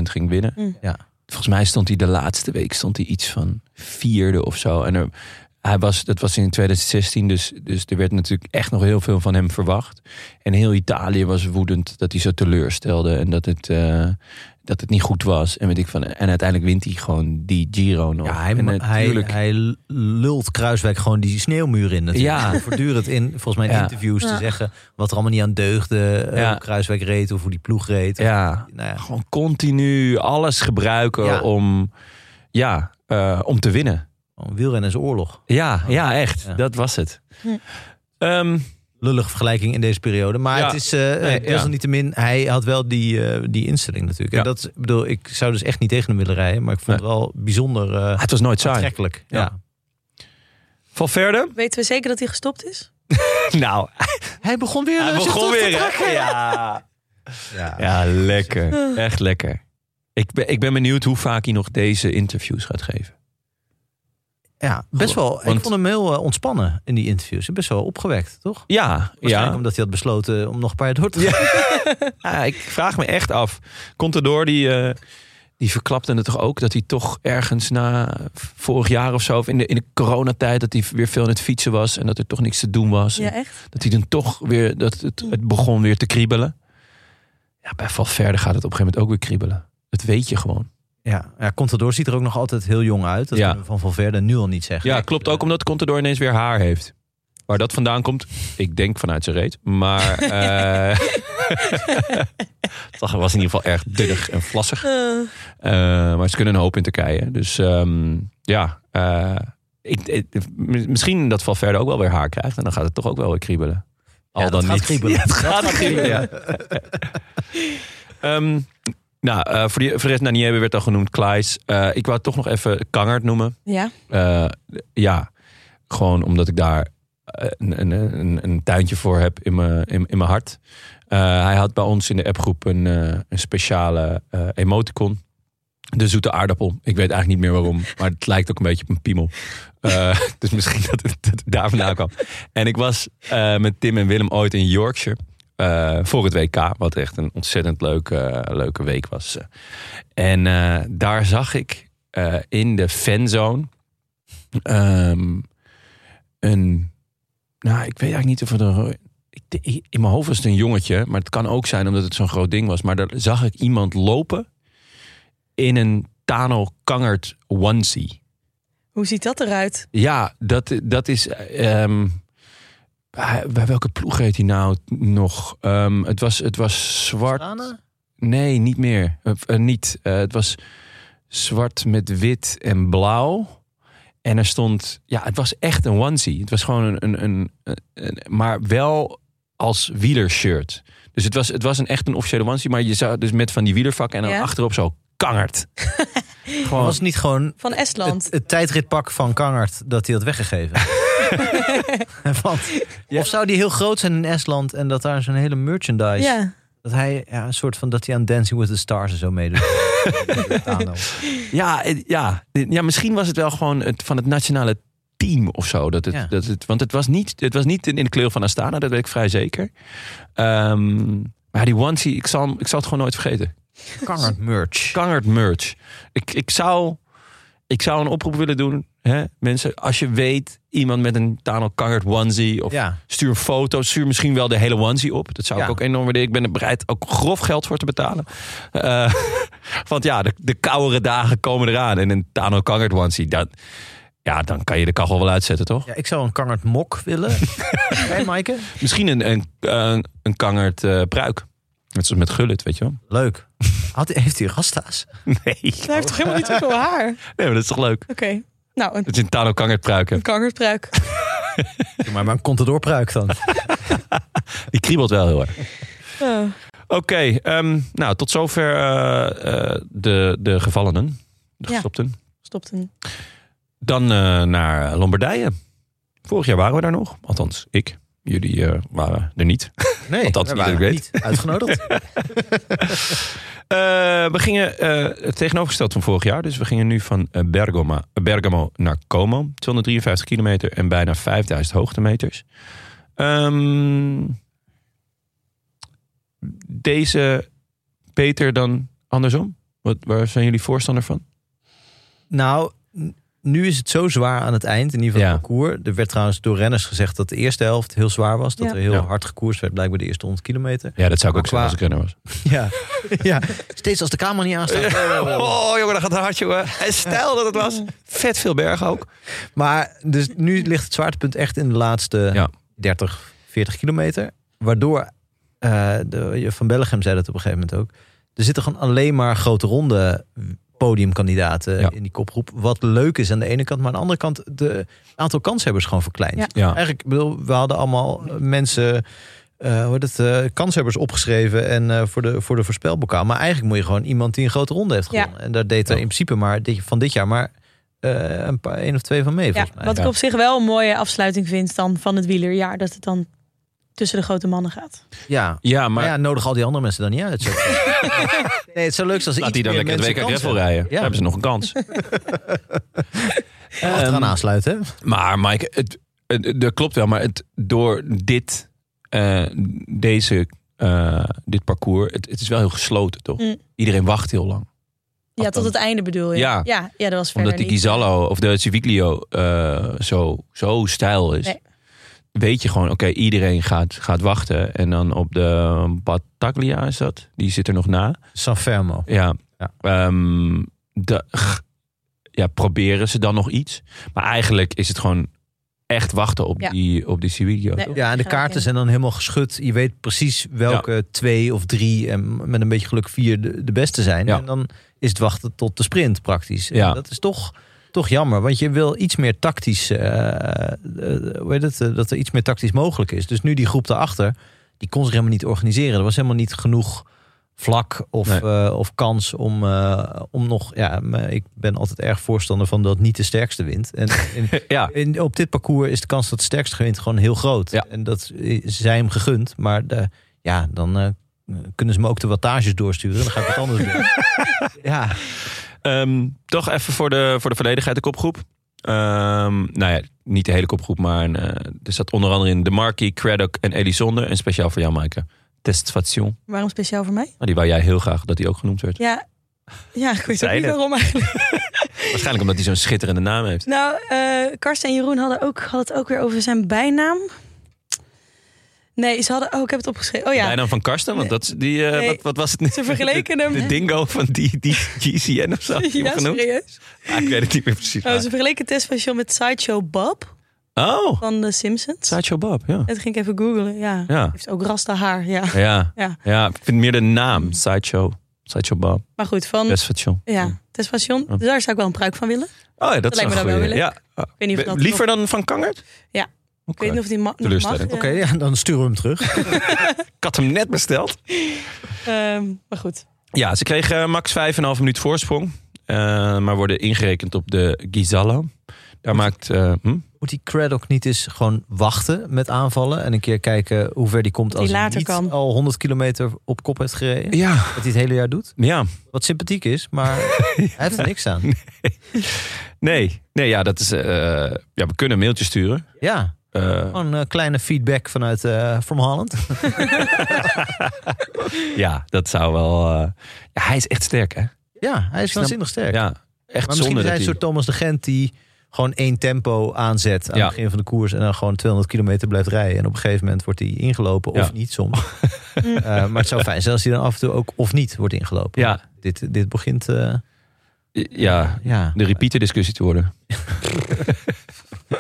ging winnen. Mm. Ja. Volgens mij stond hij de laatste week stond hij iets van vierde of zo. En er, hij was, dat was in 2016, dus, dus er werd natuurlijk echt nog heel veel van hem verwacht. En heel Italië was woedend dat hij zo teleurstelde en dat het, eh, dat het niet goed was. En, weet ik van, en uiteindelijk wint hij gewoon die Giro nog. Ja, hij, en hij, natuurlijk- hij lult Kruiswijk gewoon die sneeuwmuur in natuurlijk. Ja. Door Voortdurend in, volgens mij in Ja. interviews Ja. te zeggen wat er allemaal niet aan deugde. eh, Ja. Hoe Kruiswijk reed of hoe die ploeg reed. Of- ja, nou ja. gewoon continu alles gebruiken Ja. om, ja, eh, om te winnen. Gewoon Wielrennen is oorlog. Ja, ja echt. Oh. Ja. Dat was het. Hm. Ehm, Lullige vergelijking in deze periode. Maar Ja. het is eh Nee, ja. desalniettemin, hij had wel die, eh, die instelling natuurlijk. Ja. En dat, is- ik bedoel, ik zou dus echt niet tegen hem willen rijden. Maar ik vond Nee. het wel bijzonder eh het was nooit saai. aantrekkelijk. Ja. Ja. Valverde? Weten we zeker dat hij gestopt is? Nou, Hij begon weer. hij eh, zich begon terug te weer. trekken. hè? Ja. Ja. ja, lekker. Echt lekker. Ik ben, ik ben benieuwd hoe vaak hij nog deze interviews gaat geven. Ja, best wel. Want- Ik vond hem heel eh, ontspannen in die interviews. Best wel opgewekt, toch? Ja, Waarschijnlijk ja. omdat hij had besloten om nog een paar jaar door te gaan. Ah, ik vraag me echt af. Contador, die, eh, die verklapte het toch ook dat hij toch ergens na vorig jaar of zo, of in de, in de coronatijd, dat hij weer veel aan het fietsen was en dat er toch niks te doen was. Ja, echt? Dat hij dan toch weer, dat het, het begon weer te kriebelen. Ja, bij Valverde gaat het op een gegeven moment ook weer kriebelen. Dat weet je gewoon. Ja, ja Contador ziet er ook nog altijd heel jong uit. Dat Ja. kunnen we van Valverde nu al niet zeggen. Ja, klopt ook omdat Contador ineens weer haar heeft. Waar dat vandaan komt, ik denk vanuit zijn reet. Maar eh het zag- was in ieder geval erg dunnig en vlassig. Eh, Eh, maar ze kunnen een hoop in Turkije. Dus ehm, ja, eh, ik, ik- mi- misschien dat Valverde ook wel weer haar krijgt. En dan gaat het toch ook wel weer kriebelen. Al Ja, dan dat gaat niet. kriebelen. Ja, het gaat kriebelen, ja. Ehm, nou, eh, voor, die, voor de rest, Naniebe werd al genoemd, Klaes. Eh, ik wou toch nog even Kangert noemen. ja. Eh, ja, gewoon omdat ik daar eh, een, een, een, een tuintje voor heb in mijn, in, in mijn hart. Eh, hij had bij ons in de appgroep een, eh, een speciale eh, emoticon. De zoete aardappel. Ik weet eigenlijk niet meer waarom. Maar het lijkt ook een beetje op een piemel. Eh, dus misschien dat het, dat het daar vandaan kwam. En ik was eh, met Tim en Willem ooit in Yorkshire. eh, voor het WK. Wat echt een ontzettend leuke, leuke week was. En eh, daar zag ik eh, in de fanzone ehm, een. Nou, ik weet eigenlijk niet of het een. ik denk- In mijn hoofd was het een jongetje, maar het kan ook zijn omdat het zo'n groot ding was. Maar daar zag ik iemand lopen in een Tano Kangert onesie. Hoe ziet dat eruit? Ja, dat, dat is. ehm, bij bij welke ploeg reed hij nou nog? Ehm, het, was, het was zwart. Astana? Nee, niet meer. Eh, eh, niet. Eh, het was zwart met wit en blauw. En er stond, ja, het was echt een onesie. Het was gewoon een, een, een, een- maar wel als wielershirt. Dus het was, het was een echt een officiële onesie, maar je zou dus met van die wielervakken en dan Ja. achterop zo kangert. gewoon, Was het niet gewoon Van het, Estland. het tijdritpak van Kangert dat hij had weggegeven? Want, Of zou die heel groot zijn in Estland en dat daar zo'n hele merchandise... Ja. Dat hij ja, een soort van dat hij aan Dancing with the Stars en zo meedoet. Tano. ja, eh, ja, Dit- ja, misschien was het wel gewoon het, van het nationale team of zo. Dat het, Ja. dat het, want het was, niet, het was niet in in de kleur van Astana, dat weet ik vrij zeker. Ehm, maar die onesie, ik zal, hem- ik zal het gewoon nooit vergeten. Kangert merch. Kangert merch. Ik, ik, zou, ik zou een oproep willen doen. Hè? Mensen, als je weet, iemand met een Tano Kangert onesie. Of Ja. Stuur een foto, stuur misschien wel de hele onesie op. Dat zou ik Ja. ook enorm waarderen. Ik ben er bereid ook grof geld voor te betalen. Eh, want ja, de, de koudere dagen komen eraan. En een Tano Kangert onesie, dan, ja, dan kan je de kachel wel uitzetten, toch? ja, ik zou een Kangert mok willen. Hé, Maaike? Misschien een, een, een, een Kangert eh, pruik. Net zoals met Gullit, weet je wel? Leuk. Had, heeft hij rasta's? Nee. Hij heeft toch helemaal niet zoveel haar? Oké. nee, maar dat is toch leuk? Nou, een, Dat je een Tano Kangert pruik hebt. een kangerspruik. Doe Maar, maar een Contador-pruik dan. Die kriebelt wel heel erg. Oh. Oké, ehm, nou tot zover eh, eh, de, de gevallenen, de Ja. gestopten. Stopt een... Dan eh, naar Lombardije. Vorig jaar waren we daar nog, althans ik. Jullie eh, waren er niet. Althans, Nee, we niet dat ik waren weet. niet uitgenodigd. Eh, we gingen eh, het tegenovergesteld van vorig jaar, dus we gingen nu van eh, Bergamo, Bergamo naar Como. 253 kilometer en bijna 5000 hoogtemeters. Ehm, deze beter dan andersom? Wat, waar zijn jullie voorstander van? Nou, n- nu is het zo zwaar aan het eind, in ieder geval Ja. het parcours. Er werd trouwens door renners gezegd dat de eerste helft heel zwaar was. Dat Ja. er heel Ja. hard gekoerst werd, blijkbaar de eerste 100 kilometer. Ja, dat zou ik ook Qua- zeggen als ik renner was. Ja, ja. steeds als de camera niet aanstaat. Oh, jongen, dat gaat hard, jongen. En stel dat het was. Vet veel bergen ook. Maar dus nu ligt het zwaartepunt echt in de laatste Ja. 30, 40 kilometer. Waardoor, eh, de, Van Bellegem zei dat op een gegeven moment ook... er zitten gewoon alleen maar grote ronde podiumkandidaten Ja. in die kopgroep. Wat leuk is aan de ene kant, maar aan de andere kant... de het aantal kanshebbers gewoon verkleind. Ja. Ja. Eigenlijk, ik bedoel, we hadden allemaal mensen... eh, hoe heet het, eh, kanshebbers opgeschreven en eh, voor, de, voor de voorspelbokaal. Maar eigenlijk moet je gewoon iemand die een grote ronde heeft Ja. gewonnen. En daar deed er Ja. in principe maar dit, van dit jaar maar eh, een paar, één of twee van mee, Ja, volgens mij. wat ik Ja. op zich wel een mooie afsluiting vind dan van het wielerjaar. Dat het dan tussen de grote mannen gaat. Ja. Ja, maar Maar ja, nodig al die andere mensen dan niet uit. nee, het zou leuk zijn als er laat iets die dan meer lekker het WK mensen kansen Greffel rijden. Ja. Dan hebben ze nog een kans. achteraan Ehm, aansluiten. Maar Mike, het, het- het- dat klopt wel. Maar het, door dit, eh, deze, eh, dit parcours, het, het is wel heel gesloten, toch? Mm. Iedereen wacht heel lang. Ja, tot het einde bedoel je. Ja. ja, ja, dat was verder Omdat die niet. Gizallo of de Civiglio eh, zo, zo stijl is. Nee. Weet je gewoon, oké, iedereen gaat, gaat wachten. En dan op de Battaglia is dat. Die zit er nog na. San Fermo. Ja. Ja. Ehm, de, g- ja, proberen ze dan nog iets? Maar eigenlijk is het gewoon echt wachten op Ja. die, op die Civiglio. Nee. toch? Ja, en de Ja, kaarten oké. zijn dan helemaal geschud. Je weet precies welke twee of drie en met een beetje geluk vier de, de beste zijn. Ja. En dan is het wachten tot de sprint praktisch. En Ja. Dat is toch, toch jammer, want je wil iets meer tactisch, eh, eh, hoe heet het, eh, dat er iets meer tactisch mogelijk is. Dus nu die groep daarachter, die kon zich helemaal niet organiseren. Er was helemaal niet genoeg vlak of, Nee. eh, of kans om, eh, om nog... Ja, maar ik ben altijd erg voorstander van dat niet de sterkste wint. En, en Ja. in, op dit parcours is de kans dat het sterkst gewint gewoon heel groot. Ja. En dat is- zij hem gegund. Maar de, ja, dan eh, kunnen ze me ook de wattages doorsturen. Dan ga ik het anders doen. ja, Ehm, toch even voor de, voor de volledigheid de kopgroep. Ehm, nou ja, niet de hele kopgroep, maar een, eh, er zat onder andere in De Marquis, Craddock en Elisonde. En speciaal voor jou, Maaike. Testation. Nou, Waarom speciaal voor mij? die wou jij heel graag dat die ook genoemd werd. Ja, ja ik weet ook Zei niet het. waarom eigenlijk. Waarschijnlijk omdat hij zo'n schitterende naam heeft. Nou, eh, Karsten en Jeroen hadden, ook, hadden het ook weer over zijn bijnaam. Nee, ze hadden... Oh, ik heb het opgeschreven. Oh De ja, bijnaam van Karsten, want dat is die, eh, Nee. wat, wat was het? Ze vergeleken hem- De, de dingo van die, die GCN of zo. had je hem ja genoemd? serieus. Ah, ik weet het niet meer precies. Oh, ze vergeleken Tesfashion met Sideshow Bob Oh, van The Simpsons. Sideshow Bob, ja. En toen ging ik even googlen, ja. Ja. Heeft ook rasta haar, ja. Ja. Ja. ja, ik vind meer de naam. Sideshow, Sideshow Bob, Maar goed, van... Testation. Ja, Tesfashion. Daar zou ik wel een pruik van willen. Oh ja, dat, is lijkt me een dan wel goeie. weer leuk. Ja. Ah, Ik weet niet of dat Liever dan van Kangert? Ja. Ik weet niet of die ma- nog mag. Teleurstelling. ja. oké, ja, dan sturen we hem terug. Ik had hem net besteld. Ehm, maar goed. Ja, ze kregen eh, max 5,5 minuut voorsprong. Eh, maar worden ingerekend op de Gizallo. Daar maakt... eh, hm? Moet die Craddock niet eens gewoon wachten met aanvallen... en een keer kijken hoe ver die komt Die als hij later niet kan. al 100 kilometer op kop heeft gereden? Ja, Dat hij het hele jaar doet. ja. Wat sympathiek is, maar hij heeft er niks aan. Nee, nee ja, dat is, eh, ja, we kunnen een mailtje sturen. Ja, Eh, gewoon een kleine feedback vanuit eh From Holland. ja, dat zou wel... eh, ja, hij is echt sterk, hè? Ja, hij is waanzinnig sterk. Ja, echt zonde Maar misschien is dat hij een hij... soort Thomas de Gent die gewoon één tempo aanzet aan Ja. het begin van de koers en dan gewoon 200 kilometer blijft rijden. En op een gegeven moment wordt hij ingelopen of Ja. niet soms. Eh, maar het zou fijn zijn als hij dan af en toe ook of niet wordt ingelopen. Ja, Dit, dit begint, eh, ja, ja. de repeater discussie te worden.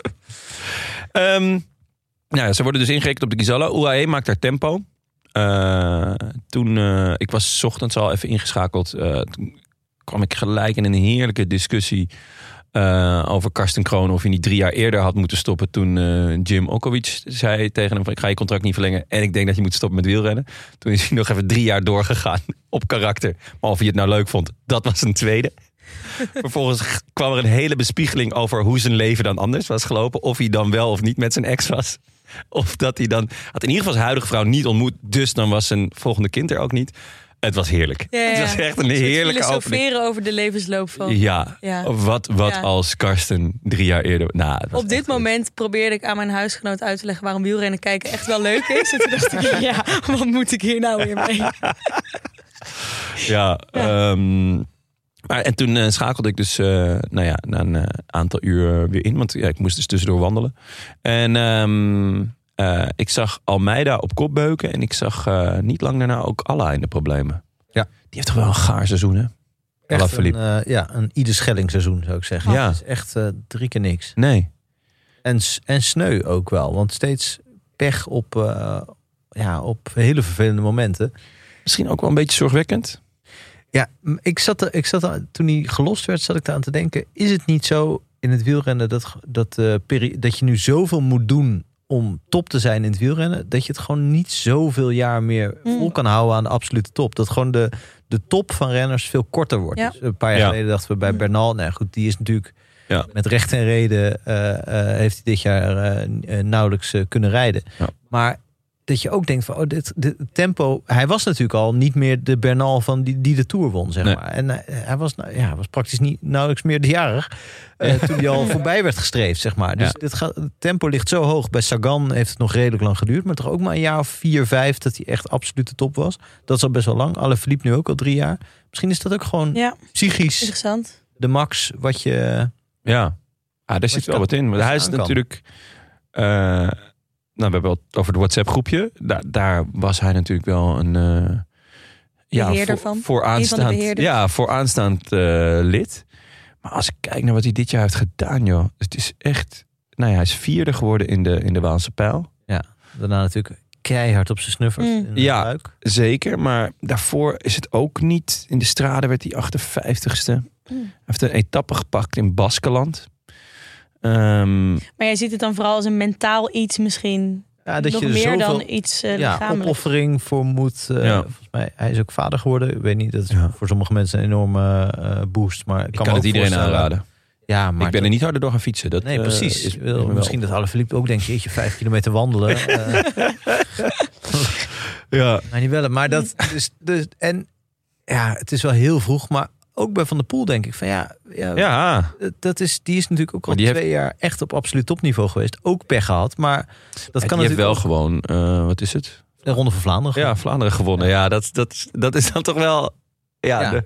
Ehm, nou ja, ze worden dus ingerekend op de Gizalla. UAE maakt haar tempo. Eh, toen, eh, ik was 's ochtends al even ingeschakeld. eh, toen kwam ik gelijk in een heerlijke discussie eh, over Karsten Kroon. Of hij niet drie jaar eerder had moeten stoppen toen eh, Jim Okowicz zei tegen hem van ik ga je contract niet verlengen. En ik denk dat je moet stoppen met wielrennen. Toen is hij nog even drie jaar doorgegaan op karakter. Maar of hij het nou leuk vond, dat was een tweede. Vervolgens g- kwam er een hele bespiegeling over hoe zijn leven dan anders was gelopen. Of hij dan wel of niet met zijn ex was. Of dat hij dan... Had in ieder geval zijn huidige vrouw niet ontmoet. Dus dan was zijn volgende kind er ook niet. Het was heerlijk. Ja, ja, Het was ja. echt een Een soort heerlijke opening. Filosoferen over de levensloop van... Ja, Ja. wat, wat Ja. als Karsten drie jaar eerder... Nou, het was Op dit echt- moment probeerde ik aan mijn huisgenoot uit te leggen waarom wielrennen kijken echt wel leuk is. En toen dacht ik, ja, wat moet ik hier nou weer mee? Ja, ehm, Maar, en toen eh, schakelde ik dus eh, nou ja, na een eh, aantal uur weer in. Want ja, ik moest dus tussendoor wandelen. En ehm, eh, ik zag Almeida op kop beuken. En ik zag eh, niet lang daarna ook Alla in de problemen. Ja. Die heeft toch wel een gaar seizoen, hè? Alla Echt een, Philippe. eh ja, een ieder Schelling seizoen zou ik zeggen. Ja. Het is echt eh, drie keer niks. Nee. En, s- en sneu ook wel. Want steeds pech op, eh, ja, op hele vervelende momenten. Misschien ook wel een beetje zorgwekkend. Ja, m- ik zat, er, ik zat er, toen hij gelost werd, zat ik eraan te denken: is het niet zo in het wielrennen dat, g- dat, eh, peri- dat je nu zoveel moet doen om top te zijn in het wielrennen, dat je het gewoon niet zoveel jaar meer Mm. vol kan houden aan de absolute top? Dat gewoon de, de top van renners veel korter wordt. Ja. Dus een paar jaar Ja. geleden dachten we bij Mm. Bernal, nou goed, die is natuurlijk Ja. met recht en reden eh, eh, heeft hij dit jaar eh, n- eh, nauwelijks eh, kunnen rijden. Ja. Maar dat je ook denkt van, oh, dit, dit tempo... Hij was natuurlijk al niet meer de Bernal van die, die de Tour won, zeg Nee. maar. En hij, hij was, nou, ja, hij was praktisch niet, nauwelijks meer de jarig eh, toen hij al voorbij werd gestreefd, zeg maar. Dus Ja. dit gaat, het tempo ligt zo hoog. Bij Sagan heeft het nog redelijk lang geduurd, maar toch ook maar een jaar of vier, vijf dat hij echt absoluut de top was. Dat is al best wel lang. Alle Philippe nu ook al drie jaar. Misschien is dat ook gewoon Ja, psychisch interessant. de max wat je... eh, Ja, ah, daar zit je wel kan- wat in. wat Want je hij is aan kan. natuurlijk. eh, nou, we hebben het over het WhatsApp-groepje. Daar, daar was hij natuurlijk wel een. eh voor, Beheerder van. Een van de Vooraanstaand, beheerders. ja, vooraanstaand eh, lid. Maar als ik kijk naar wat hij dit jaar heeft gedaan, joh. Het is echt. Nou ja, hij is vierde geworden in de, in de Waalse pijl. Daarna natuurlijk keihard op zijn snuffers. Mm. in de Ja. buik. Zeker, maar daarvoor is het ook niet. In de straden werd hij 58ste. Hij heeft een etappe gepakt in Baskeland. Ehm, Maar jij ziet het dan vooral als een mentaal iets misschien. Ja, dat Nog je er meer zoveel dan iets eh ja, lichamelijk. opoffering voor moet. eh, Ja. Volgens mij, hij is ook vader geworden. Ik weet niet, dat is Ja. voor sommige mensen een enorme eh, boost. Maar ik ik kan, kan, me het ook iedereen voorstellen- aanraden. Ja, maar ik ben er niet harder door gaan fietsen. Dat, Nee, eh, precies. is- Ik is wil me wel- misschien dat Alaphilippe ook denkt, jeetje, vijf kilometer wandelen. eh, Ja. maar niet wel. Maar dat dus, dus en ja, het is wel heel vroeg, maar ook bij Van der Poel denk ik van ja, ja, Ja, dat is die is natuurlijk ook al Maar die twee jaar echt op absoluut topniveau geweest, ook pech gehad, maar dat dat kan kan je hebt natuurlijk wel wel gewoon, eh, wat is het? de ronde van Vlaanderen. Ja, Vlaanderen gewonnen. Ja, dat, dat, dat is dan toch wel. Ja, Ja. de-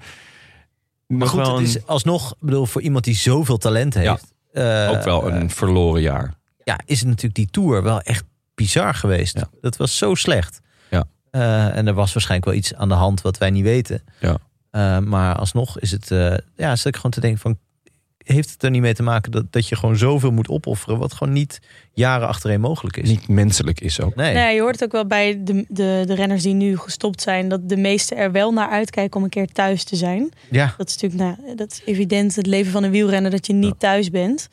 maar nog goed, wel het is alsnog, ik bedoel voor iemand die zoveel talent heeft, eh, een- ook wel een verloren jaar. ja, is het natuurlijk die tour wel echt bizar geweest. Ja. Dat was zo slecht. Ja. Eh, en er was waarschijnlijk wel iets aan de hand wat wij niet weten. Ja. Eh, maar alsnog is het, eh ja, zit ik gewoon te denken van, heeft het er niet mee te maken dat, dat je gewoon zoveel moet opofferen, wat gewoon niet jaren achtereen mogelijk is? Niet menselijk is ook. Nee. Nou ja, je hoort het ook wel bij de, de, de renners die nu gestopt zijn, dat de meesten er wel naar uitkijken om een keer thuis te zijn. Ja. Dat is natuurlijk nou, dat is evident het leven van een wielrenner dat je niet thuis bent.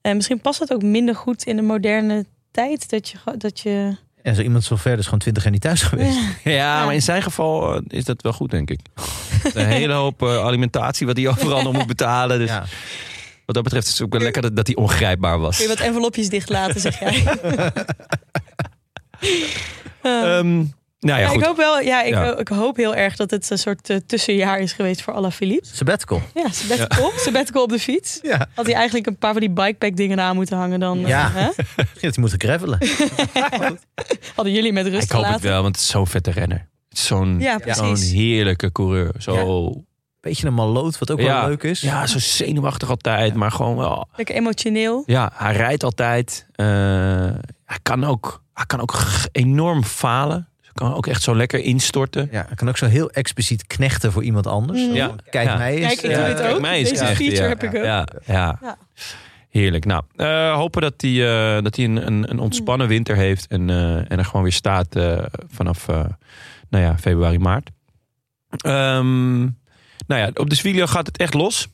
En misschien past dat ook minder goed in de moderne tijd. Dat je, gewoon- dat je En zo iemand zo ver is gewoon twintig jaar niet thuis geweest. Ja, maar in zijn geval eh, is dat wel goed, denk ik. Een hele hoop eh, alimentatie wat hij overal nog moet betalen. Dus Ja. wat dat betreft is het ook wel lekker dat, dat hij ongrijpbaar was. kun je wat envelopjes dicht laten, zeg jij. Eh, Ehm, nou ja, maar ik goed. hoop wel, ja, ik, Ja. ik hoop heel erg dat het een soort eh, tussenjaar is geweest voor Alaphilippe. Sabbatical. Ja, sabbatical, sabbatical op de fiets. Ja. Had hij eigenlijk een paar van die bikepack dingen aan moeten hangen dan. eh, Ja. hè? Misschien dat hij moet gravelen. Hadden jullie met rust Ik hoop het gelaten. wel, want het is zo'n vette renner. Het is Zo'n Ja, zo'n precies. heerlijke coureur. Zo Beetje een maloot, wat ook wel leuk is. Ja, zo zenuwachtig altijd, maar gewoon wel. Lekker emotioneel. Ja, hij rijdt altijd. Eh, hij, kan ook, hij kan ook g- enorm falen. Dus Hij kan ook echt zo lekker instorten. Ja, hij kan ook zo heel expliciet knechten voor iemand anders. Mm. Ja. Kijk Ja. mij eens. eh, Kijk, ik Ja, doe dit eh, kijk, ook. mij is Deze echt, feature ja. heb ik ook. Ja, ja. Ja. heerlijk. Nou, eh, hopen dat hij, eh, dat hij een, een, een ontspannen winter heeft. En, eh, en er gewoon weer staat eh, vanaf eh, nou ja, februari, maart. Ehm, nou ja, op de Sviglio gaat het echt los.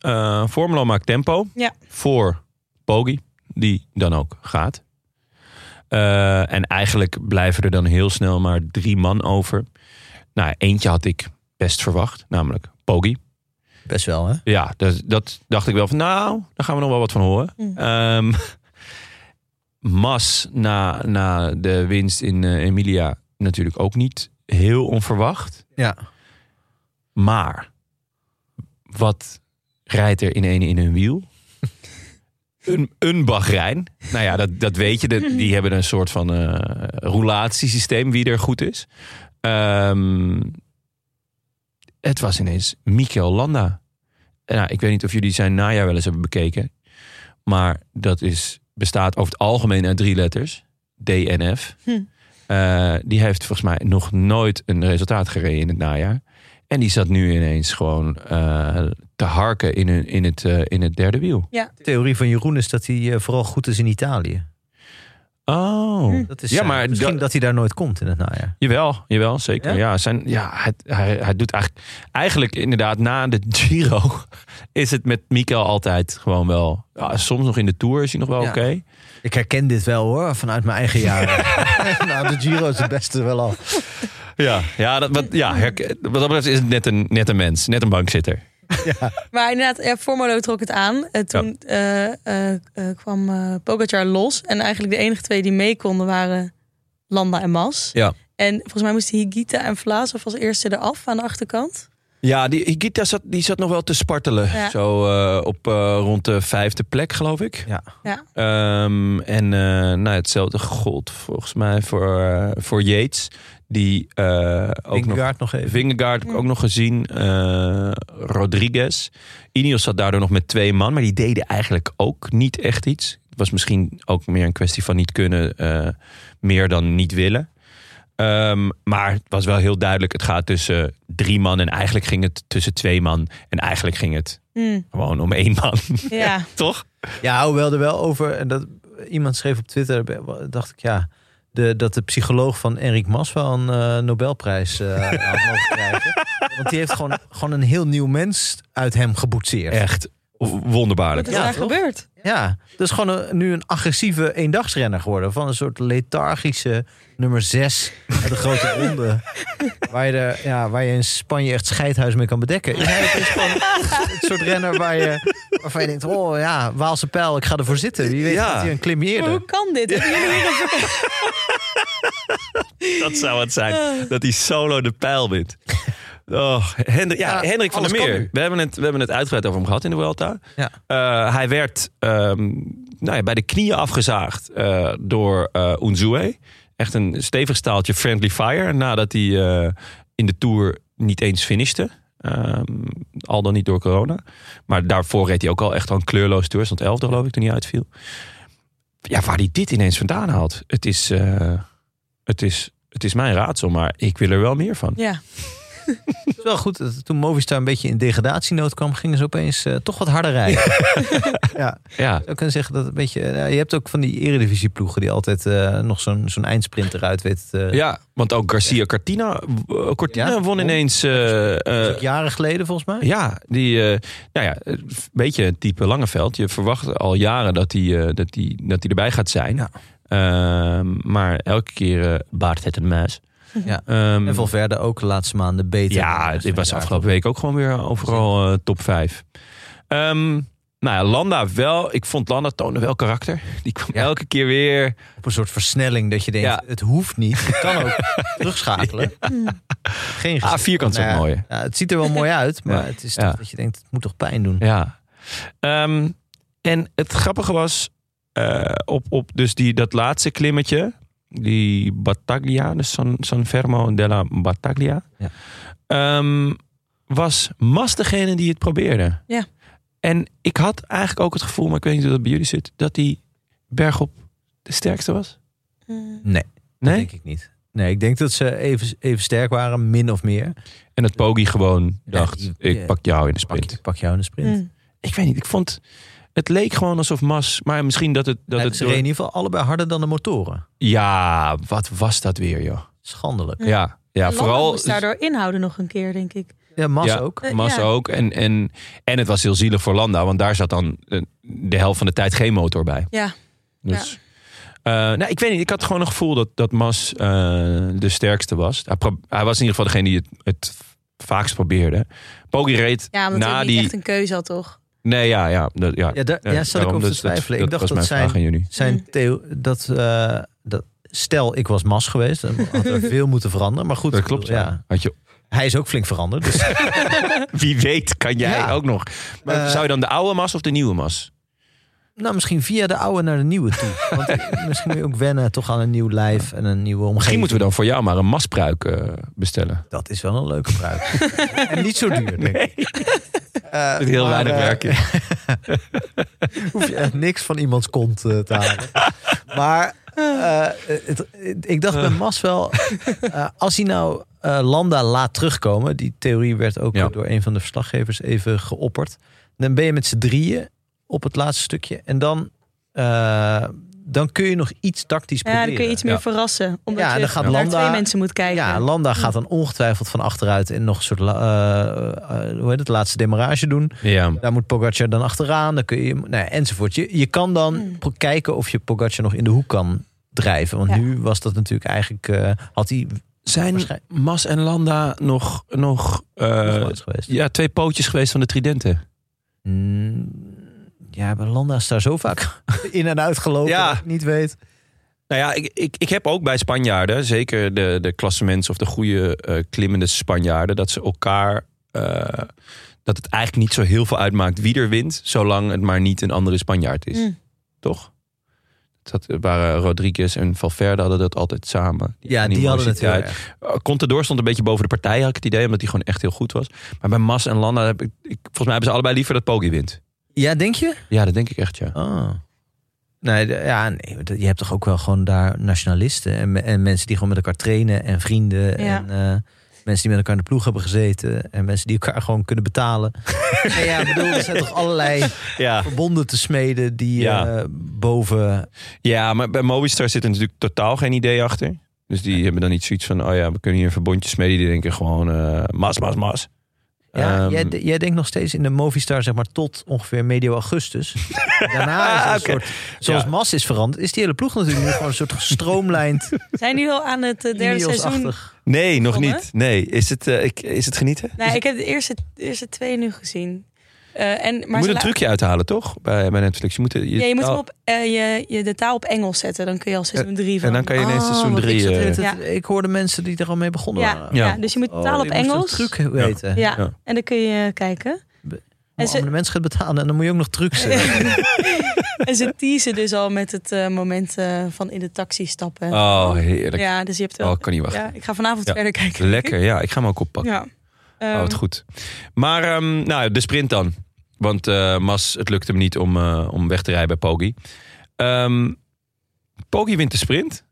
Eh Formula maakt tempo. Ja. Voor Bogie, die dan ook gaat. Eh, en eigenlijk blijven er dan heel snel maar drie man over. Nou, eentje had ik best verwacht, namelijk Bogie. Best wel, hè? Ja, dat, dat dacht ik wel van, nou, daar gaan we nog wel wat van horen. Mm. Ehm, Mas na, na de winst in eh, Emilia natuurlijk ook niet heel onverwacht. Ja. Maar wat rijdt er in een in hun wiel? Een, een Bahrein. Nou ja, dat, dat weet je. Dat- die hebben een soort van eh roulatiesysteem, wie er goed is. Ehm, het was ineens Mikel Landa. eh, nou, ik weet niet of jullie zijn najaar wel eens hebben bekeken. Maar dat is, bestaat over het algemeen uit drie letters. DNF. Hm. Eh, die heeft volgens mij nog nooit een resultaat gereden in het najaar. En die zat nu ineens gewoon eh, te harken in, hun- in, het, eh, in het derde wiel. De theorie van Jeroen is dat hij eh, vooral goed is in Italië. Oh. Dat is Ja, zijn- maar misschien dat- dat... hij daar nooit komt in het najaar. Jawel, jawel, zeker. Ja? Ja? zijn, ja, hij, hij, hij doet eigenlijk, eigenlijk inderdaad na de Giro is het met Mikael altijd gewoon wel. ja, soms nog in de Tour is hij nog wel Ja. oké. Ik herken dit wel hoor, vanuit mijn eigen jaren. nou, de Giro is het beste wel al. Ja, ja, dat, wat, ja herk- wat dat betreft is het net een, net een mens, net een bankzitter. Maar inderdaad, ja, Formolo trok het aan. Eh, toen eh, eh, eh, kwam eh Pogacar los. En eigenlijk de enige twee die mee konden waren Landa en Mas. Ja. En volgens mij moesten Higita en Vlaas of als eerste eraf aan de achterkant. Ja, die Higita zat, die zat nog wel te spartelen. Ja. Zo eh, op eh, rond de vijfde plek, geloof ik. Ja. Ja. Ehm, en eh, nou, hetzelfde gold volgens mij voor, eh, voor Yates. Die eh, ook nog Vingegaard nog even. Vingegaard heb ik ook nog gezien. eh, Rodriguez. Ineos zat daardoor nog met twee man. Maar die deden eigenlijk ook niet echt iets. Het was misschien ook meer een kwestie van niet kunnen. eh, meer dan niet willen. Ehm, maar het was wel heel duidelijk. Het gaat tussen drie man. En eigenlijk ging het tussen twee man. En eigenlijk ging het Hm, gewoon om één man. ja. Toch? Ja, hoewel er wel over. En dat, iemand schreef op Twitter, dacht ik ja. De, dat de psycholoog van Enric Mas wel een eh, Nobelprijs eh, had mogen krijgen. Want die heeft gewoon, gewoon een heel nieuw mens uit hem geboetseerd. Echt wonderbaarlijk. Wat is Ja, daar toch? gebeurd? Ja, dat is gewoon een- nu een agressieve eendagsrenner geworden. Van een soort lethargische nummer 6 uit de grote ronde. waar, je er, ja, waar je in Spanje echt scheidhuis mee kan bedekken. Ja, het is gewoon het soort renner waar je, waarvan je denkt... oh ja, Waalse pijl, ik ga ervoor zitten. Wie weet Ja. dat hij een klim Maar eerder. hoe kan dit? Hebben jullie hier een ver- Dat zou het Eh. zijn. Dat hij solo de pijl wint. Oh, Hendrik, ja, Ja, Hendrik van der alles kan Meer. nu. We hebben, het, we hebben het uitgebreid over hem gehad in de Vuelta. Ja. Eh, hij werd ehm, nou ja, bij de knieën afgezaagd eh, door eh Unzue. Echt een stevig staaltje friendly fire. Nadat hij eh, in de Tour niet eens finishte. Ehm, al dan niet door corona. Maar daarvoor reed hij ook al echt al een kleurloos tour. Stond 11 geloof ik toen hij uitviel. Ja, waar hij dit ineens vandaan haalt. Het is, eh, het is, het is mijn raadsel, maar ik wil er wel meer van. Ja. Het is wel goed, dat toen Movistar een beetje in degradatienood kwam... gingen ze opeens eh, toch wat harder rijden. ja. Ja, Ik zou kunnen zeggen dat het een beetje... eh, je hebt ook van die eredivisieploegen die altijd eh, nog zo'n zo'n eindsprint eruit weet... eh, ja want ook Garcia Cortina, eh, Cortina Ja, won ineens... eh, Dat is eh, ook jaren geleden volgens mij. ja, die, eh, nou ja, een beetje het type Langeveld. Je verwacht al jaren dat hij eh, dat die, dat die erbij gaat zijn. Ja. Ehm, maar elke keer eh, baart het een muis. Ja. Ehm, En Valverde ook de laatste maanden beter. Ja, dit was afgelopen week ook gewoon weer overal eh, top 5. nou ja, Landa wel. Ik vond Landa toonde wel karakter. Die kwam Ja. elke keer weer. Op een soort versnelling dat je denkt, Ja. het hoeft niet. Het kan ook terugschakelen. Geen Ah, gezicht. vierkant is ook Nou ja, mooi. ja, het ziet er wel mooi uit, maar Ja. het is Ja. toch dat je denkt, het moet toch pijn doen. Ja. Ehm, en het grappige was, eh, op, op dus die, dat laatste klimmetje, die Battaglia, dus San, San Fermo della Battaglia, Ja. ehm, was Mas degene die het probeerde. Ja. En ik had eigenlijk ook het gevoel, maar ik weet niet hoe dat bij jullie zit, dat die bergop de sterkste was. Hm. Dat Nee? denk ik niet. Nee, ik denk dat ze even, even sterk waren, min of meer. En dat Pogi gewoon Ja, dacht, die- ja. ik pak jou in de Pak, sprint. ik pak jou in de sprint. Hm. Ik weet niet, ik vond... Het leek gewoon alsof Mas, maar misschien dat het... Dat Nee, het ze door- reden in ieder geval allebei harder dan de motoren. Ja, wat was dat weer, joh. Schandelijk. Ja, ja Landa vooral. moest daardoor inhouden nog een keer, denk ik. Ja, Mas Ja. ook. Eh, Mas ja. ook. En, en, en het was heel zielig voor Landa, want daar zat dan eh, de helft van de tijd geen motor bij. Ja. Dus, eh, nou, ik weet niet. Ik had gewoon een gevoel dat, dat Mas eh, de sterkste was. Hij, pro- hij was in ieder geval degene die het, het vaakst probeerde. Pogi reed Ja, want na hij niet die. echt een keuze had, toch? Nee, ja, ja. Dat, ja, Ja, daar ja, ja, zat ik daarom, over dat- te twijfelen. Dat, ik dacht was dat mijn zijn vraag aan jullie. zijn Mm. theo dat, eh, dat stel ik was mas geweest, dan had er veel moeten veranderen. Maar goed, Dat klopt, ja. ja. Had je, Hij is ook flink veranderd. Dus, wie weet kan jij Ja. ook nog. Maar Eh, zou je dan de oude Mas of de nieuwe Mas? Nou, misschien via de oude naar de nieuwe toe. Want misschien moet je ook wennen toch aan een nieuw lijf en een nieuwe omgeving. Misschien moeten we dan voor jou maar een maspruik eh, bestellen. Dat is wel een leuke pruik. en niet zo duur, denk ik. Eh, Met heel maar, weinig eh, werk in. hoef je echt niks van iemands kont eh, te halen. Maar eh, het- ik dacht bij Mas wel, eh, als hij nou eh, Landa laat terugkomen, die theorie werd ook Ja. door een van de verslaggevers even geopperd, dan ben je met z'n drieën op het laatste stukje en dan, eh, dan kun je nog iets tactisch Ja, proberen. dan kun je iets meer Ja. verrassen. Omdat Ja, en je dan gaat naar Landa- twee mensen moet kijken. Ja, Landa gaat dan ongetwijfeld van achteruit en nog een soort la- eh, eh, hoe heet het, laatste demarrage doen. Ja. Daar moet Pogacar dan achteraan. Dan kun je, nou ja, enzovoort. Je, je kan dan pro- kijken of je Pogacar nog in de hoek kan drijven. Want Ja. nu was dat natuurlijk eigenlijk... eh, had hij Zijn waarschijn- Mas en Landa nog, nog, eh, groot geweest. ja, twee pootjes geweest van de Tridenten? Mm, Ja, bij Landa is daar zo vaak in en uit gelopen. Ja. Dat ik niet weet. Nou ja, ik, ik, ik heb ook bij Spanjaarden, zeker de, de klassemens of de goede eh, klimmende Spanjaarden, dat ze elkaar. eh, dat het eigenlijk niet zo heel veel uitmaakt wie er wint, zolang het maar niet een andere Spanjaard is. Mm. Toch? Dat waren Rodriguez en Valverde hadden dat altijd samen. Ja, die hadden het heel animositeit. erg. Uh, Contador stond een beetje boven de partij, had ik het idee, omdat hij gewoon echt heel goed was. Maar bij Mas en Landa heb ik, ik- volgens mij hebben ze allebei liever dat Poggi wint. Ja, denk je? Ja, dat denk ik echt, ja. Ah. Nee, de- ja, nee, dat- je hebt toch ook wel gewoon daar nationalisten. En, me- en mensen die gewoon met elkaar trainen. En vrienden. Ja. En eh, mensen die met elkaar in de ploeg hebben gezeten. En mensen die elkaar gewoon kunnen betalen. Nee, ja, ik bedoel, er zijn toch allerlei... Ja, verbonden te smeden die Ja. eh, boven. ja maar bij Movistar zit er natuurlijk totaal geen idee achter. Dus die hebben dan niet zoiets van, oh ja, we kunnen hier verbondjes mee. Die denken gewoon, eh, Mas, Mas, Mas. Ja, Ehm, jij, de- jij denkt nog steeds in de Movistar, zeg maar, tot ongeveer medio augustus. Daarna is er een Oké. soort, zoals Ja. Mas is veranderd, is die hele ploeg natuurlijk nu gewoon een soort gestroomlijnd, Zijn jullie al aan het eh, derde seizoen? Ineos-achtig. nee, nog Begonnen? niet. Nee, is het, eh, ik, is het genieten? Nou, ik heb de eerste, de eerste twee nu gezien. Eh, en, je maar moet ze een la- trucje uithalen, toch? Bij, bij Netflix. Je moet, je, Ja, je moet hem oh, op, eh, je, je de taal op Engels zetten. Dan kun je al seizoen drie van. Eh, En dan kan je ineens Ah, seizoen want ik 3... zat de hele eh, tijd- Ik hoorde mensen die er al mee begonnen ja, waren. ja. Ja. dus je moet de Oh, taal op die moesten Engels. een truc weten. Ja. Ja. en dan kun je eh, kijken. En En ze- ze... mensen gaat betalen en dan moet je ook nog trucs eh. zeggen. En ze teasen dus al met het eh, moment eh, van in de taxi stappen. Oh, heerlijk. ja, dus je hebt wel. Oh, ik kan niet wachten. ja, ik ga vanavond Ja. verder kijken. Lekker, ja. Ik ga hem ook oppakken. Ja. Oh, Ehm, wat goed. Maar ehm, nou, de sprint dan. Want eh, Mas, het lukt hem niet om, eh, om weg te rijden bij Poggi. Ehm Poggi wint de sprint.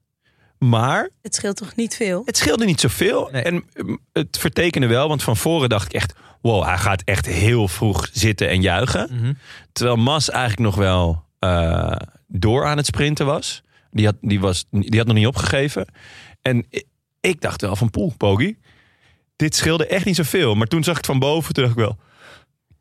Maar Het scheelt toch niet veel? het scheelde niet zoveel. Nee. En mm, het vertekende wel. Want van voren dacht ik echt... Wow, hij gaat echt heel vroeg zitten en juichen. Terwijl Mas eigenlijk nog wel eh, door aan het sprinten was. Die had, die was. die had nog niet opgegeven. En ik, ik dacht wel van poel, Pogi. Dit scheelde echt niet zoveel. Maar toen zag ik het van boven, toen dacht ik wel...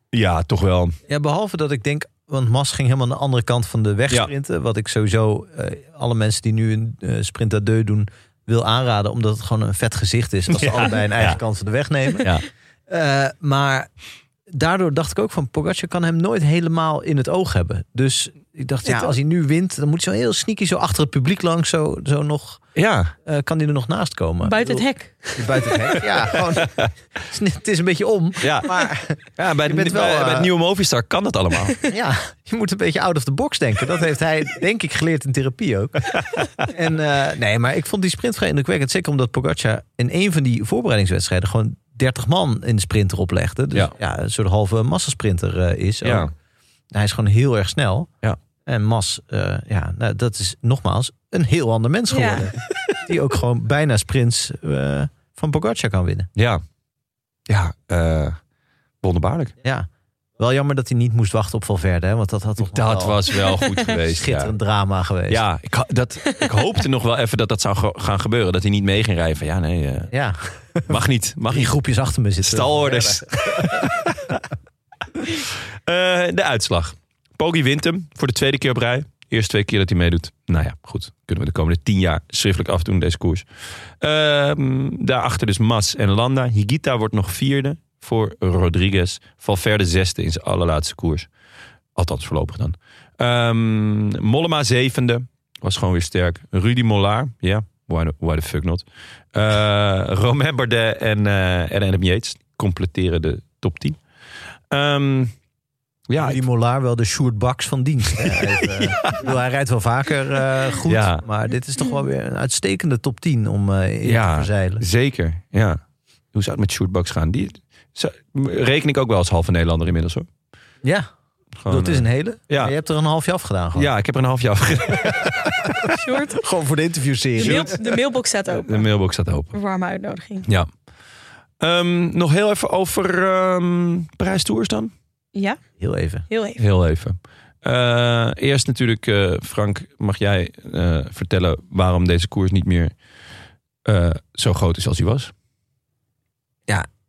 Ja, toch wel. Ja, behalve dat ik denk, want Mas ging helemaal aan de andere kant van de weg Ja. sprinten. Wat ik sowieso eh, alle mensen die nu een eh, sprint à deux doen, wil aanraden. Omdat het gewoon een vet gezicht is als ze Ja. allebei een eigen Ja. kant van de weg nemen. Ja. Eh, maar daardoor dacht ik ook van, Pogacar kan hem nooit helemaal in het oog hebben. Dus ik dacht, ja, Zit- als hij nu wint, dan moet hij zo heel sneaky zo achter het publiek langs. Zo, zo nog, Ja, eh, kan hij er nog naast komen. Buiten Ik het hek. bedoel, Buiten het hek, ja. Gewoon, het is een beetje om, ja. maar... ja bij, Je het- bent wel, bij, bij eh, het nieuwe Movistar kan dat allemaal. Ja, je moet een beetje out of the box denken. Dat heeft hij, denk ik, geleerd in therapie ook. En eh, nee, maar ik vond die sprint vrij indrukwekkend. Zeker omdat Pogacar in een van die voorbereidingswedstrijden gewoon 30 man in de sprint erop legde. Dus ja, Ja. een soort halve massasprinter eh, is. Ja. ook. Hij is gewoon heel erg snel. Ja. En Mas, eh, ja, nou, dat is nogmaals een heel ander mens Ja. geworden. Die ook gewoon bijna sprints eh, van Pogacar kan winnen. Ja. Ja, eh, wonderbaarlijk. Ja. Wel jammer dat hij niet moest wachten op Valverde. Hè, want dat had toch nog Dat wel was wel goed geweest. schitterend drama geweest. Ja, ik, ha- dat, ik hoopte nog wel even dat dat zou ge- gaan gebeuren. Dat hij niet mee ging rijden. Van ja, nee, eh, Ja. mag niet. Mag Drie niet. groepjes achter me zitten. Stalorders. Eh, de uitslag. Poggi wint hem voor de tweede keer op rij. Eerst twee keer dat hij meedoet. Nou ja, goed. Kunnen we de komende tien jaar schriftelijk afdoen, deze koers. Ehm, daarachter dus Mas en Landa. Higita wordt nog vierde voor Rodriguez. Valverde zesde in zijn allerlaatste koers. Althans voorlopig dan. Ehm, Mollema zevende. Was gewoon weer sterk. Rudy Mollaar. Ja, why, the- why the fuck not. Eh Romain Bardet en, eh en Adam Yates completeren de top 10. Ehm, Ja, die Molaar wel de Sjoerd Baks van dienst. hè, even. Ik bedoel, hij rijdt wel vaker eh, goed, Ja. maar dit is toch wel weer een uitstekende top 10 om eh, in Ja. te verzeilen. zeker. Ja. Hoe zou het met shootbox gaan? Die zou- reken ik ook wel als halve Nederlander inmiddels hoor. Ja, Gewoon, eh, dat is een hele. ja. Maar je hebt er een half jaar afgedaan eh, gewoon. ja, ik heb er een half jaar over gedaan. Sjoerd, Gewoon voor de interviewserie. de, mail- de mailbox staat De open. mailbox staat open. Een warme uitnodiging. Ja. Ehm, nog heel even over ehm prijstours dan. Ja, Heel even. heel even. Heel even. Eh, eerst natuurlijk, eh, Frank, mag jij eh, vertellen waarom deze koers niet meer eh, zo groot is als hij was?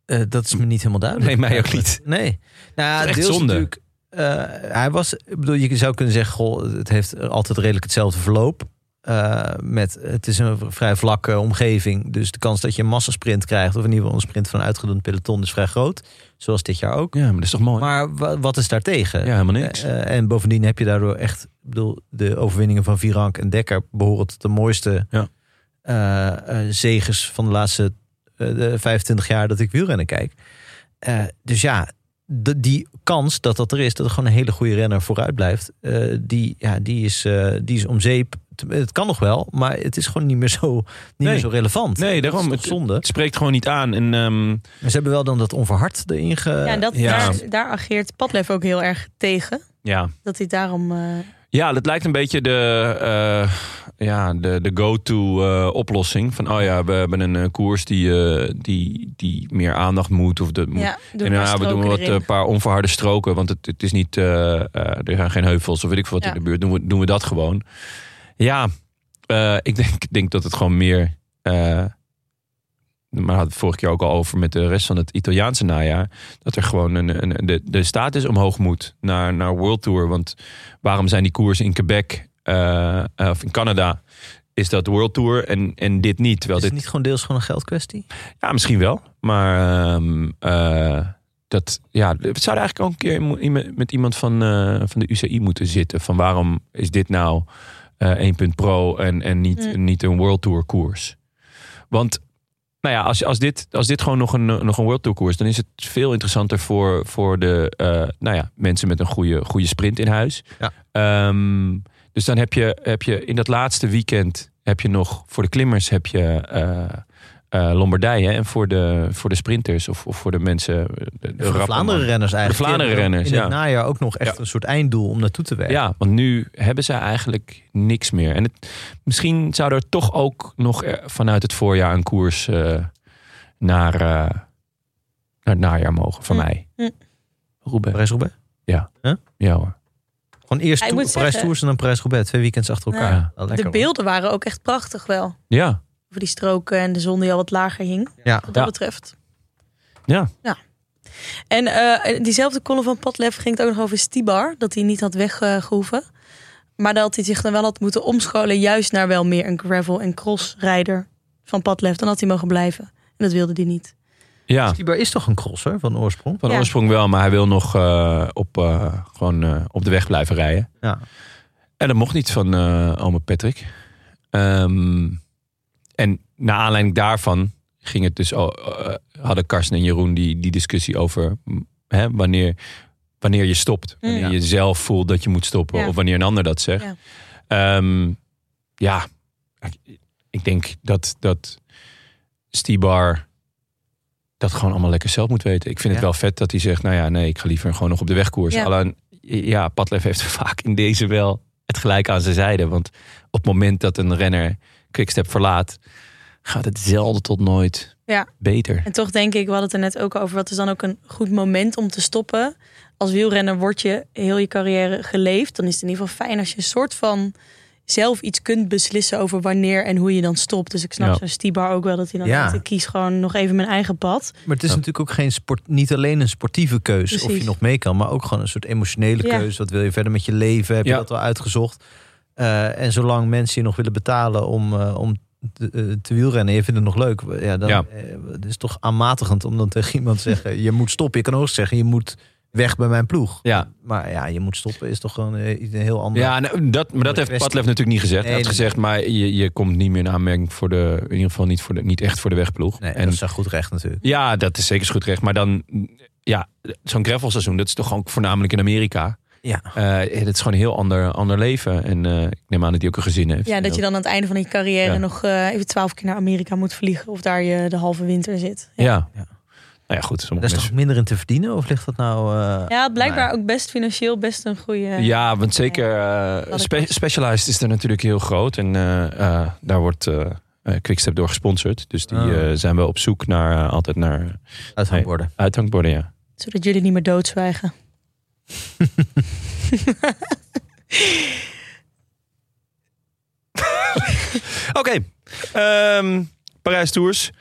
Eh, dat is me niet helemaal duidelijk. Nee, mij ook niet. Nee. Nou, is echt deels zonde. natuurlijk. eh, hij was, ik bedoel, je zou kunnen zeggen, goh, het heeft altijd redelijk hetzelfde verloop. Eh, met, het is een vrij vlakke omgeving, dus de kans dat je een massasprint krijgt, of in ieder geval een sprint van een uitgedund peloton, is vrij groot. Zoals dit jaar ook. Ja, maar dat is toch mooi? Maar wa- wat is daartegen? ja, helemaal niks. Eh, eh, en bovendien heb je daardoor echt, ik bedoel, de overwinningen van Virank en Dekker behoren tot de mooiste Ja. eh, eh, zegens van de laatste eh, de 25 jaar dat ik wielrennen kijk. Eh, dus ja, de, die kans dat dat er is, dat er gewoon een hele goede renner vooruit blijft, eh, die, ja, die, is, eh, die is om zeep. Te- Het kan nog wel, maar het is gewoon niet meer zo, niet Nee. meer zo relevant. Nee, Dat is daarom. toch Het, zonde. het spreekt gewoon niet aan. En, ehm, Maar ze hebben wel dan dat onverhard erin ge... Ja, en dat, Eh, ja. Daar, daar ageert Padlef ook heel erg tegen. ja. Dat hij daarom... eh, ja, dat lijkt een beetje de, eh, ja, de, de go-to eh, oplossing. Van, oh ja, we hebben een eh, koers die, eh, die, die meer aandacht moet. Of de, ja, doen en maar ja, we doen stroken wat eh, erin. een paar onverharde stroken. Want het, het is niet, eh, eh, er zijn geen heuvels of weet ik veel wat Ja. in de buurt. Doen we, doen we dat gewoon. Ja, eh, ik denk, ik denk dat het gewoon meer... eh, maar hadden we het vorige keer ook al over met de rest van het Italiaanse najaar. Dat er gewoon een, een, de, de status omhoog moet naar, naar World Tour. Want waarom zijn die koersen in Quebec eh, of in Canada... Is dat World Tour en, en dit niet? Terwijl is dit het niet gewoon deels gewoon een geldkwestie? ja, misschien wel. Maar ehm, eh, dat, ja, we zouden eigenlijk al een keer mo- iem- met iemand van, eh, van de UCI moeten zitten. Van waarom is dit nou eh 1 punt pro en, en niet, Mm. niet een World Tour koers? Want nou ja, als, als, dit, als dit gewoon nog een, eh, nog een World Tour koers is, dan is het veel interessanter voor, voor de eh, nou ja, mensen met een goede, goede sprint in huis. Ja. Ehm, dus dan heb je, heb je in dat laatste weekend heb je nog voor de klimmers heb je eh, eh, Lombardije. En voor de, voor de sprinters of, of voor de mensen. eh, De, de De rappe Vlaanderen man. renners eigenlijk. De Vlaanderen Die hebben renners, In het ja. najaar ook nog echt Ja. een soort einddoel om naartoe te werken. Ja, want nu hebben ze eigenlijk niks meer. En het, misschien zou er toch ook nog eh, vanuit het voorjaar een koers eh, naar, eh, naar het najaar mogen, van Hm. mij. Hm. Roubaix. Parijs-Roubaix? Ja hoor. Gewoon eerst Ja, ik to- moet Parijs zeggen- Tours en dan Parijs-Roubaix. Twee weekends achter elkaar. Ja. Wel lekker, De hoor. beelden waren ook echt prachtig wel. Ja, Over die stroken en de zon die al wat lager hing. Ja. Wat dat Ja. betreft. Ja. ja. En eh, diezelfde column van Padlef ging het ook nog over Stibar. Dat hij niet had weggehoeven. Maar dat hij zich dan wel had moeten omscholen. Juist naar wel meer een gravel- en crossrijder van Padlef. Dan had hij mogen blijven. En dat wilde hij niet. ja. Stibar is toch een crosser van oorsprong? Van Ja. oorsprong wel, maar hij wil nog eh, op, eh, gewoon, eh, op de weg blijven rijden. Ja. En dat mocht niet van eh ome Patrick. Ehm, en naar aanleiding daarvan ging het dus, al- eh, hadden Karsten en Jeroen die, die discussie over m, hè, wanneer, wanneer je stopt. Wanneer Ja. je zelf voelt dat je moet stoppen Ja. of wanneer een ander dat zegt. Ja. Ja, ja ik- ik denk dat, dat Stibar dat gewoon allemaal lekker zelf moet weten. Ik vind het Ja. wel vet dat hij zegt, nou ja, nee, ik ga liever gewoon nog op de weg koersen. Ja. Alleen, ja, Padlef heeft vaak in deze wel het gelijk aan zijn zijde. Want op het moment dat een renner Quickstep verlaat, gaat het zelden tot nooit Ja. beter. En toch denk ik, we hadden het er net ook over. Wat is dan ook een goed moment om te stoppen? Als wielrenner word je heel je carrière geleefd. Dan is het in ieder geval fijn als je een soort van zelf iets kunt beslissen over wanneer en hoe je dan stopt. Dus ik snap Ja. zo'n Stibar ook wel dat hij dan Ja. denkt, ik kies gewoon nog even mijn eigen pad. Maar het is Ja. natuurlijk ook geen sport, niet alleen een sportieve keuze of je Precies. nog mee kan, maar ook gewoon een soort emotionele Ja. keuze. Wat wil je verder met je leven? Heb Ja. je dat wel uitgezocht? Eh, en zolang mensen je nog willen betalen om, eh, om te, eh, te wielrennen, je vindt het nog leuk. Ja, dan, Ja. eh, het is toch aanmatigend om dan tegen iemand te zeggen: je moet stoppen. Je kan ook zeggen: je moet weg bij mijn ploeg. Ja, Maar ja, je moet stoppen is toch gewoon eh, iets een heel ander. ja nou, dat, maar dat heeft kwestie. Padlef natuurlijk niet gezegd. Nee, hij heeft dat- gezegd, maar je, je komt niet meer in aanmerking voor de... In ieder geval niet, voor de, niet echt voor de wegploeg. Nee, en dat is een goed recht natuurlijk. Ja, dat is zeker goed recht. Maar dan, ja, zo'n gravelseizoen, dat is toch gewoon voornamelijk in Amerika. Ja. Het is gewoon een heel ander, ander leven. En eh, ik neem aan dat hij ook een gezin heeft. Ja, En dat je dan aan het einde van je carrière Ja. nog eh, even twaalf keer naar Amerika moet vliegen. Of daar je de halve winter zit. Ja. Ja. Nou ja, goed. sommige Dat is toch mensen- minder in te verdienen? Of ligt dat nou... eh, Ja, blijkbaar ook best financieel best een goede... Ja, want zeker eh Wat ik spe- was. Specialized is er natuurlijk heel groot. En eh, eh, daar wordt eh eh, Quickstep door gesponsord. Dus die Ah. eh, zijn wel op zoek naar, eh, altijd naar uithangborden. uithangborden, ja. Zodat jullie niet meer doodzwijgen. Oké. Ehm, Parijs Tours.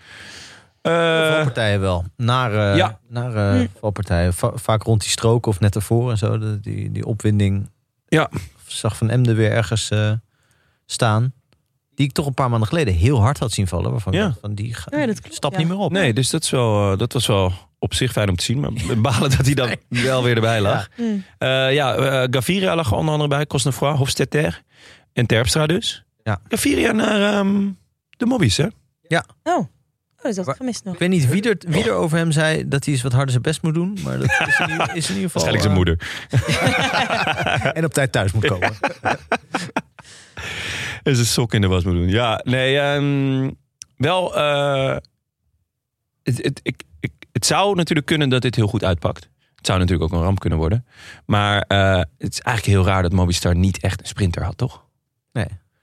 Eh, valpartijen wel. Naar, eh, ja. naar eh, Hm. valpartijen. Va- vaak rond die strook of net ervoor en zo. de- die, die opwinding. Ja. Zag Van Emden weer ergens eh, staan. Die ik toch een paar maanden geleden heel hard had zien vallen. Waarvan ik Ja. dacht van die ga- Ja, dat klopt, stap ja. niet meer op. Nee, dus dat, is wel, eh, dat was wel op zich fijn om te zien. Maar we balen dat hij dan wel weer erbij lag. Hm. Ja, ja eh, Gaviria lag er onder andere bij. Cosnefroid, Hofstetter en Terpstra dus. Ja. Gaviria naar ehm, de mobbies, hè? Oh, dat had ik Waar- gemist nog. Ik weet niet wie er, wie er over hem zei dat hij eens wat harder zijn best moet doen. Maar dat is in, ieder- is in ieder geval... Waarschijnlijk zijn eh, moeder. En op tijd thuis moet komen. En zijn sok in de was moet doen. Ja, nee, ehm, wel... eh, het, het, ik, ik, het zou natuurlijk kunnen dat dit heel goed uitpakt. Het zou natuurlijk ook een ramp kunnen worden. Maar eh, het is eigenlijk heel raar dat Mobistar niet echt een sprinter had, toch?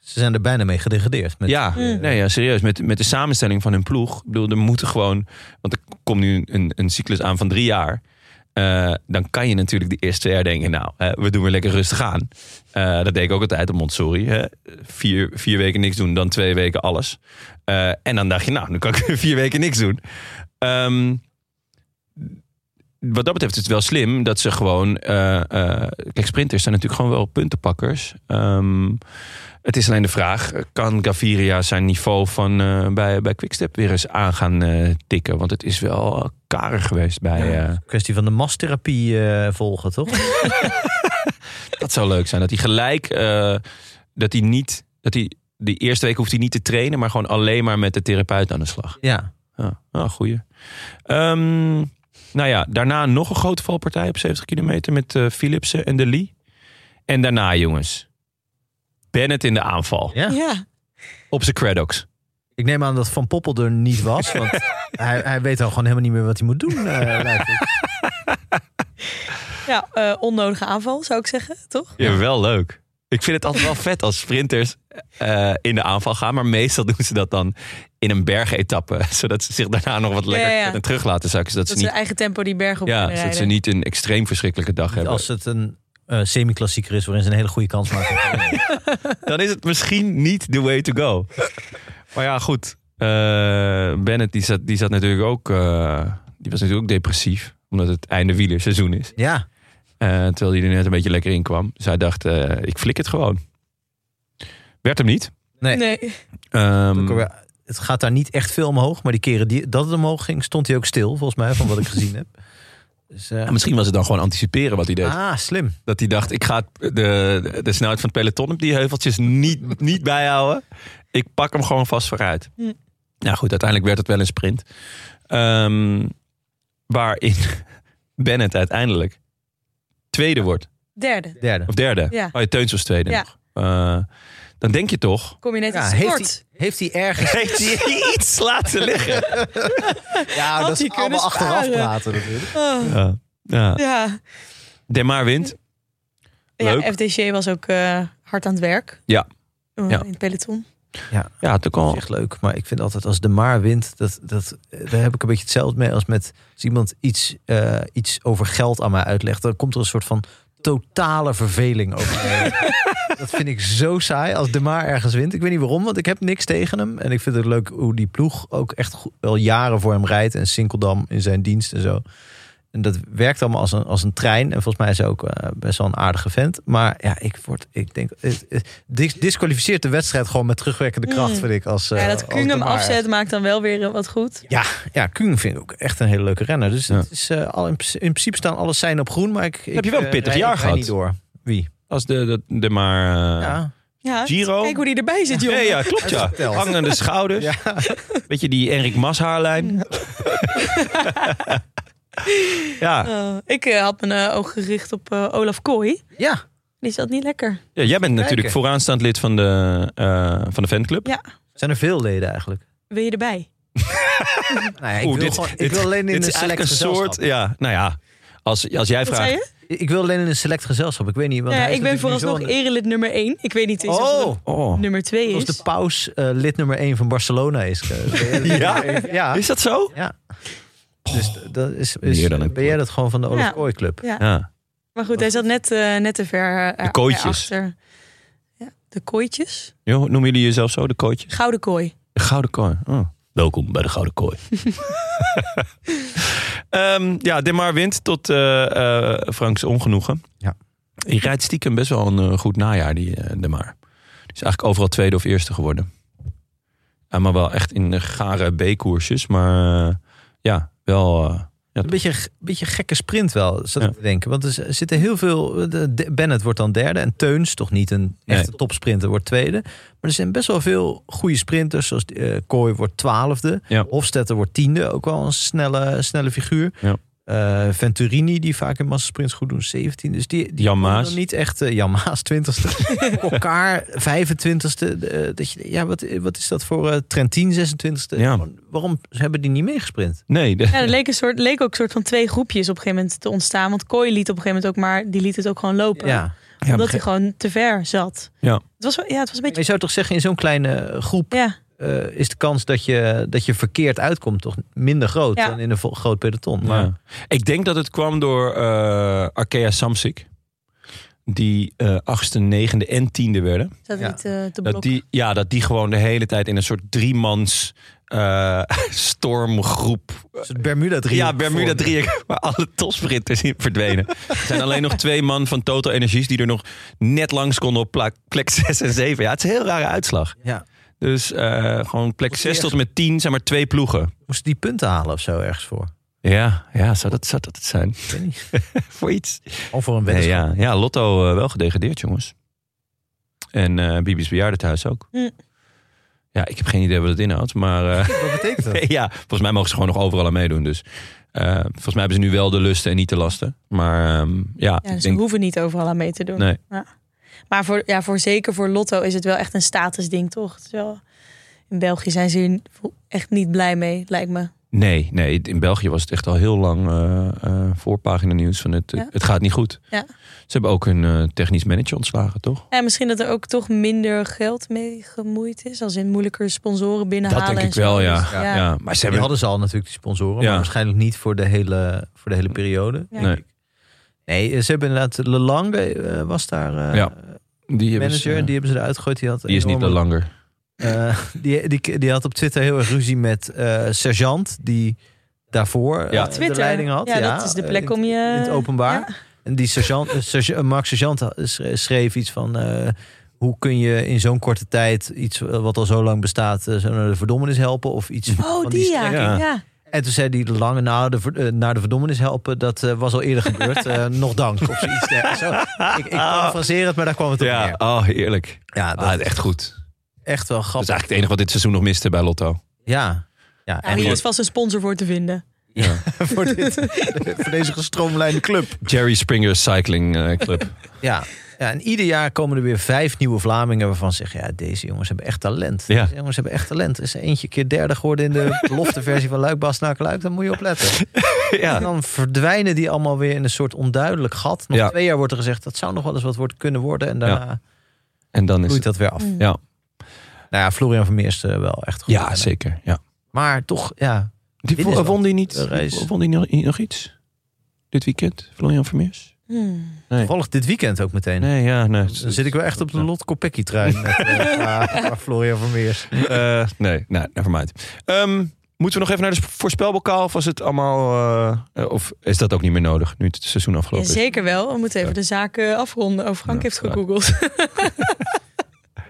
Ze zijn er bijna mee gedegradeerd. Met, ja, Mm. nee, ja, serieus. Met, met de samenstelling van hun ploeg. Ik bedoel, er moeten gewoon. Want er komt nu een, een cyclus aan van drie jaar. Eh, dan kan je natuurlijk de eerste twee jaar denken: Nou, hè, we doen weer lekker rustig aan. Eh, dat deed ik ook altijd op Montsori. Hè. Vier, vier weken niks doen, dan twee weken alles. Eh, en dan dacht je: Nou, nu kan ik weer vier weken niks doen. Ehm, wat dat betreft is het wel slim dat ze gewoon. eh, eh, kijk, sprinters zijn natuurlijk gewoon wel puntenpakkers. Ehm, het is alleen de vraag: kan Gaviria zijn niveau van, eh, bij, bij Quickstep weer eens aan gaan eh, tikken? Want het is wel eh, karig geweest bij. Ja. eh, Kwestie van de masstherapie eh, volgen, toch? dat zou leuk zijn. Dat hij gelijk. eh, dat hij niet. Dat hij, de eerste week hoeft hij niet te trainen, maar gewoon alleen maar met de therapeut aan de slag. ja. Ja, ah, goeie. Ehm, nou ja, daarna nog een grote valpartij op 70 kilometer met eh, Philipsen en de Lee. En daarna, jongens, Bennett in de aanval. ja. Ja, Op zijn credox. Ik neem aan dat Van Poppel er niet was. Want hij, hij weet al gewoon helemaal niet meer wat hij moet doen. eh, lijkt het. ja eh, onnodige aanval zou ik zeggen, toch? Ja, wel leuk. Ik vind het altijd wel vet als sprinters eh, in de aanval gaan. Maar meestal doen ze dat dan in een bergetappe. Zodat ze zich daarna nog wat lekker Ja, ja. terug laten zakken. Zodat Dat ze ze niet, eigen tempo die berg op ja, kunnen zodat ze rijden. niet een extreem verschrikkelijke dag hebben. Als het een eh, semi-klassieker is waarin ze een hele goede kans maken. Dan is het misschien niet the way to go. Maar ja, goed. Eh, Bennett die zat, die zat natuurlijk ook... eh, die was natuurlijk ook depressief. Omdat het einde wielerseizoen is. ja, Eh, terwijl hij er net een beetje lekker in kwam. Dus hij dacht, eh, ik flik het gewoon. Werd hem niet. nee. Nee, Ehm, Hmm. Ook alweer- Het gaat daar niet echt veel omhoog. Maar die keren die, dat het omhoog ging, stond hij ook stil. Volgens mij, van wat ik gezien heb. Dus, eh, Ja, misschien was het dan gewoon anticiperen wat hij deed. ah, slim. Dat hij dacht, ik ga het- de, de snelheid van het peloton op die heuveltjes niet, niet bijhouden. Ik pak hem gewoon vast vooruit. Hm. Nou goed, uiteindelijk werd het wel een sprint. Ehm, waarin Bennett uiteindelijk tweede wordt. derde. Derde. Of derde. Ja. Oh, ja, Teuns was tweede Ja. nog. Eh, dan denk je toch... Kom je net Ja, in heeft sport. hij, heeft hij ergens... Heeft hij iets laten liggen? Ja, Had dat is hij kunnen allemaal achteraf sparen. praten natuurlijk. Oh, Ja. Ja. ja. Demar wint. Leuk. ja, FDC was ook eh, hard aan het werk. Ja. Eh, Ja. In het peloton. Ja, toch al. Echt leuk. Maar ik vind altijd als de maar wint, dat, dat, eh, daar heb ik een beetje hetzelfde mee als met als iemand iets, eh, iets over geld aan mij uitlegt. Dan komt er een soort van totale verveling over. mij. dat vind ik zo saai als de maar ergens wint. Ik weet niet waarom, want ik heb niks tegen hem. En ik vind het leuk hoe die ploeg ook echt goed, wel jaren voor hem rijdt. En Sinkeldam in zijn dienst en zo. En dat werkt allemaal als een, als een trein. En volgens mij is hij ook eh, best wel een aardige vent. Maar ja, ik, word, ik denk... Het, het dis- disqualificeert de wedstrijd gewoon met terugwerkende kracht, Mm. vind ik. Als, ja, eh, dat als Kung de hem Maaier. afzet maakt dan wel weer eh, wat goed. Ja, ja, Kung vind ik ook echt een hele leuke renner. Dus Ja. het is, eh, al in, pr- in principe staan alle zijn op groen. Maar ik, ik, je wel een eh, pittig rij- jaar ik rij gehad. niet door. Wie? Als de, de, de maar... eh, Ja. Ja, Giro. Kijk hoe die erbij zit, jongen. Nee, ja, klopt ja. verteld. Hangende schouders. Ja. Beetje die Enrik Mas haarlijn. ja. Eh, ik eh, had mijn eh, oog gericht op eh, Olaf Kooi. ja, Die zat niet lekker. ja, jij bent natuurlijk kijken. vooraanstaand lid van de, eh, van de fanclub. Ja, zijn er veel leden eigenlijk. wil je erbij? Nou ja, ik, Oeh, wil dit- gewoon, ik dit- wil alleen in dit een is eigenlijk select een gezelschap. soort... Ja, nou ja. Als, als jij Wat zei vraagt... je? Ik wil alleen in een select gezelschap. Ik weet niet. Want Nou ja, hij is ik ben natuurlijk nu vooralsnog zo erelid nummer 1. Ik weet niet eens aan de- of Oh, het Oh. nummer 2 als is. de paus eh, lid nummer 1 van Barcelona is. eh, Ja? ja. Is dat zo? ja. Dus d- dat is, is- Meer dan een ben jij dat gewoon van de Olaf Ja. Kooi Club? Ja. Ja. Maar goed, hij zat net, eh, net te ver eh, De kooitjes. erachter. Ja, de kooitjes. Jo, Noemen jullie jezelf zo, de coach? Gouden kooi. De Gouden Kooi. Oh. Welkom bij de Gouden Kooi. Ehm ja, Demar wint tot eh, eh, Franks ongenoegen. Ja. Hij rijdt stiekem best wel een eh, goed najaar, die eh, Demar. Die is eigenlijk overal tweede of eerste geworden. Ja, maar wel echt in de gare B-koersjes. Maar eh, ja, wel... eh, ja, Een beetje, een beetje gekke sprint wel, zat Ja. ik te denken. Want er z- zitten heel veel... de- de- Bennett wordt dan derde. En Teuns, toch niet een echte Nee. topsprinter, wordt tweede. Maar er zijn best wel veel goede sprinters. Zoals eh, Kooi wordt twaalfde. Ja. Hofstetter wordt tiende. Ook wel een snelle, snelle figuur. Ja. Eh, Venturini, die vaak in massasprints goed doen, 17. Dus die, die Jan komen Maas. dan niet echt... eh, Jan Maas, 20ste. Elkaar, 25ste. eh, dat je, ja, wat, wat is dat voor eh, Trentin, 26ste? Ja. Gewoon, Waarom hebben die niet meegesprint? nee, de- Ja, er leek, een soort, leek ook een soort van twee groepjes op een gegeven moment te ontstaan. Want Kooi liet op een gegeven moment ook maar, die liet het ook gewoon lopen. Ja. ja, omdat hij gewoon te ver zat. Ja. Het was, wel- ja, het was Maar je een beetje... zou toch zeggen, in zo'n kleine groep Ja, eh, is de kans dat je, dat je verkeerd uitkomt toch minder groot Ja. dan in een vo- groot peloton. Maar Ja. Ik denk dat het kwam door eh Arkea Samsic. Die eh, achtste, negende en tiende werden. zat Ja. niet eh, te Dat blokken. die, ja, dat die gewoon de hele tijd in een soort driemans eh, stormgroep. eh, het is het Bermuda 3. ja, Bermuda driehoek waar alle topsprinters in verdwenen. Er zijn alleen nog twee man van Total Energies die er nog net langs konden op plak- plek 6 en 7. Ja, het is een heel rare uitslag. Ja. Dus eh, gewoon plek Moet 6 je- tot en met 10 zijn maar twee ploegen. Moest die punten halen of zo ergens voor? Ja, ja zou, dat, zou dat het zijn? Ik weet niet. Voor iets. Of voor een Nee, wedstrijd. ja, ja, Lotto eh, wel gedegradeerd, jongens. En eh Bibi's bejaardentehuis ook. Hm. Ja, ik heb geen idee wat het inhoudt, maar... eh, Wat betekent dat? ja, volgens mij mogen ze gewoon nog overal aan meedoen. Dus eh, volgens mij hebben ze nu wel de lusten en niet de lasten. Maar ehm, ja, Ja, ik dus denk, we hoeven niet overal aan mee te doen. Nee. Ja. Maar voor, ja, voor zeker voor Lotto is het wel echt een statusding, toch? Het is wel- in België zijn ze hier echt niet blij mee, lijkt me. nee, nee, in België was het echt al heel lang eh, eh, voorpagina nieuws van het, Ja. het gaat niet goed. Ja. Ze hebben ook hun eh, technisch manager ontslagen, toch? En misschien dat er ook toch minder geld mee gemoeid is. Als in moeilijker sponsoren binnenhalen. Dat denk ik en zo. wel, ja. Dus, ja. Maar ze Die hebben... hadden ze al natuurlijk, die sponsoren. Ja. Maar waarschijnlijk niet voor de hele, voor de hele periode. Ja. Nee, Nee, ze hebben inderdaad... Lelange eh, was daar eh, Ja, die hebben ze- manager. die hebben ze eruit gegooid. Die, had die is niet enorme- de langer. Eh, die, die, die had op Twitter heel erg ruzie met eh Sergeant, die daarvoor eh, Ja. Twitter. de leiding had. eh, Ja, dat is de plek in- om je- In het openbaar. Ja. En die sergeant, eh, serge- eh, Mark Sergeant had- schre- schreef iets van... eh, hoe kun je in zo'n korte tijd iets eh, wat al zo lang bestaat... eh, zo naar de verdommenis helpen of iets Oh, van die ja. strekking. ja. En toen zei die de lange nou, de, ver- eh, naar de verdommenis helpen... dat eh, was al eerder gebeurd. Eh, nog dank. Of zoiets. dergelijks. Zo, ik ik parafraseer het, maar daar kwam het op Ah. Ja, neer. oh, heerlijk. Ja, dat Ah, echt goed. echt wel Dat is grappig. eigenlijk het enige wat dit seizoen nog miste bij Lotto. Ja. Ja, Ja, hier is vast een sponsor voor te vinden. voor, dit, voor deze gestroomlijnde club. Jerry Springer Cycling eh, Club. Ja. ja, en ieder jaar komen er weer vijf nieuwe Vlamingen waarvan ze zeggen: ja, deze jongens hebben echt talent. Ja. Deze jongens hebben echt talent. Is er eentje keer derde geworden in de belofteversie van Luik Bas naar Luik, dan moet je opletten. En ja. dan verdwijnen die allemaal weer in een soort onduidelijk gat. Nog Ja. twee jaar wordt er gezegd dat zou nog wel eens wat wordt kunnen worden en daarna En dan is het... groeit dat weer af. Mm. Ja, Nou ja, Florian Vermeer is eh, wel echt goed. ja zeker. Ja. Maar toch, ja, Die, Dit is won- wel won die niet? de race. Won die nog, nog iets? Dit weekend? Florian Vermeers? Hmm. toevallig dit weekend ook meteen. Nee, ja, nee. Dan zit ik wel echt op de Lot Kopecky-trein met eh, waar- waar Florian Vermeer. is. Eh, nee, nee, nevermind. Ehm Moeten we nog even naar de voorspelbokaal? Of was het allemaal. eh, eh, of is dat ook niet meer nodig nu het seizoen afgelopen is? zeker wel. We moeten even de zaken afronden. Oh, Frank Ja, heeft ja. gegoogeld.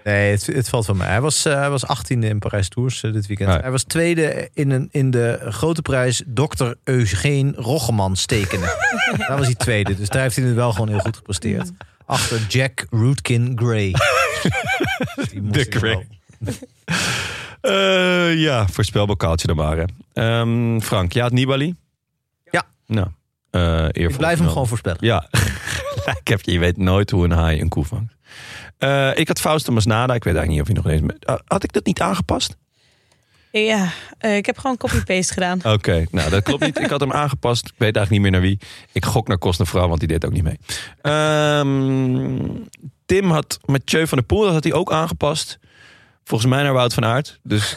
Nee, het, het valt van mij. Hij was, eh, hij was 18e in Parijs Tours eh, dit weekend. Ja. Hij was tweede in, een, in de grote prijs Dr. Eugene Roggeman stekenen. Daar was hij tweede, dus daar heeft hij het wel gewoon heel goed gepresteerd. Achter Jack Rootkin Gray. Dus die moest De ik wel. Grey. Eh, ja, voorspelbokaaltje dan maar. Hè. Ehm, Frank, ja, het Nibali? Ja. Nou, eh Ik blijf hem gewoon voorspellen. Ja, ik heb, je weet nooit hoe een haai een koe vangt. Eh, ik had Fausto Masnada. Ik weet eigenlijk niet of hij nog eens... Ah, Had ik dat niet aangepast? ja, eh, ik heb gewoon copy-paste gedaan. Oké, nou dat klopt niet. Ik had hem aangepast. Ik weet eigenlijk niet meer naar wie. Ik gok naar Kostnevrouw, want die deed ook niet mee. Ehm, Tim had Mathieu van der Poel, dat had hij ook aangepast. Volgens mij naar Wout van Aert. Dus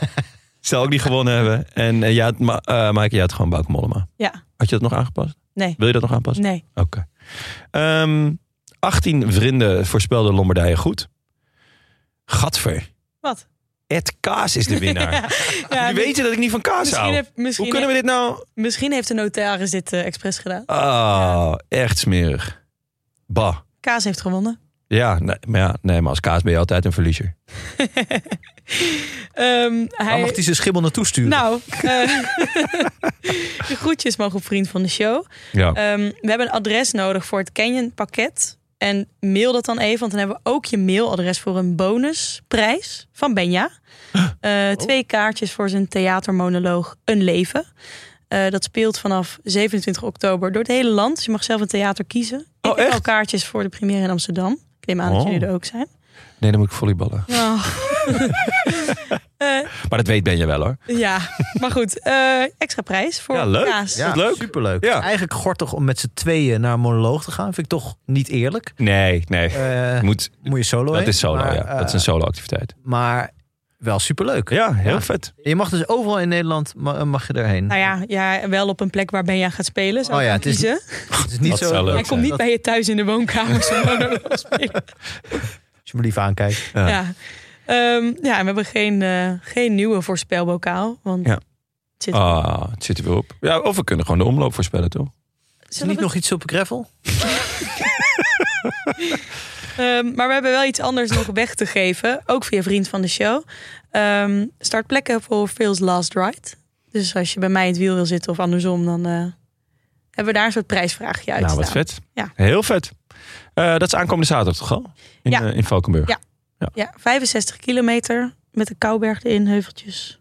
zou ook niet gewonnen hebben. En eh, jij had, Ma eh, Maaike, jij had gewoon Bauke Mollema. Ja, Had je dat nog aangepast? nee. Wil je dat nog aanpassen? Nee. Oké. Ehm, 18 vrienden voorspelden Lombardije goed. Gadver. Wat? Ed Kaas is de winnaar. Ja, Jullie weten dat ik niet van kaas misschien, hou. heb- Hoe misschien, kunnen we dit nou... he- misschien heeft de notaris dit eh, expres gedaan. Oh, echt smerig. Bah. Kaas heeft gewonnen. Ja, nee, maar ja, nee, maar als kaas ben je altijd een verliezer. Ehm, Waar hij, mag hij zijn schimmel naartoe sturen? nou, eh, de groetjes mogen op vriend van de show. Ja. Ehm, we hebben een adres nodig voor het Canyon pakket. En mail dat dan even, want dan hebben we ook je mailadres voor een bonusprijs van Benja. Oh. Eh, Twee kaartjes voor zijn theatermonoloog Een Leven. Eh, dat speelt vanaf 27 oktober door het hele land. Dus je mag zelf een theater kiezen. Oh, ik heb al echt? kaartjes voor de première in Amsterdam. Ik neem aan dat Oh. jullie er ook zijn. Nee, dan moet ik volleyballen. Eh, Maar dat weet ben je wel hoor. ja, maar goed. eh, extra prijs voor Ja, leuk. kaas. ja, dat leuk? superleuk. Ja. Eigenlijk gortig om met z'n tweeën naar een monoloog te gaan. Vind ik toch niet eerlijk. Nee, nee. Eh, Moet, moet je solo dat heen, is solo, maar, ja. eh, Dat is een solo activiteit. Maar wel superleuk. Ja, heel ja. vet. Je mag dus overal in Nederland ma- mag je erheen. Nou ja, ja, wel op een plek waar Benja gaat spelen. Zou Oh ja, ik het is- kiezen. Het is niet Dat zo. zou leuk Hij zijn. komt niet Dat- bij je thuis in de woonkamer. zo'n monoloog spelen. Als je me lief aankijkt. Ja. Ja. Ehm, ja, en we hebben geen, eh, geen nieuwe voorspelbokaal. Want Ja. het zit, Ah, het zit er weer op. Ja, of we kunnen gewoon de omloop voorspellen, toch? Is er Zullen niet we- nog iets op gravel? Ehm, maar we hebben wel iets anders nog weg te geven. Ook via vriend van de show. Ehm start plekken voor Phil's Last Ride. Dus als je bij mij in het wiel wil zitten of andersom, dan eh, hebben we daar een soort prijsvraagje uit. Nou, wat staan. vet. Ja. Heel vet. Eh, dat is aankomende zaterdag toch al? In, Ja. eh, in Valkenburg. Ja. Ja, 65 kilometer met de Kouberg erin, heuveltjes.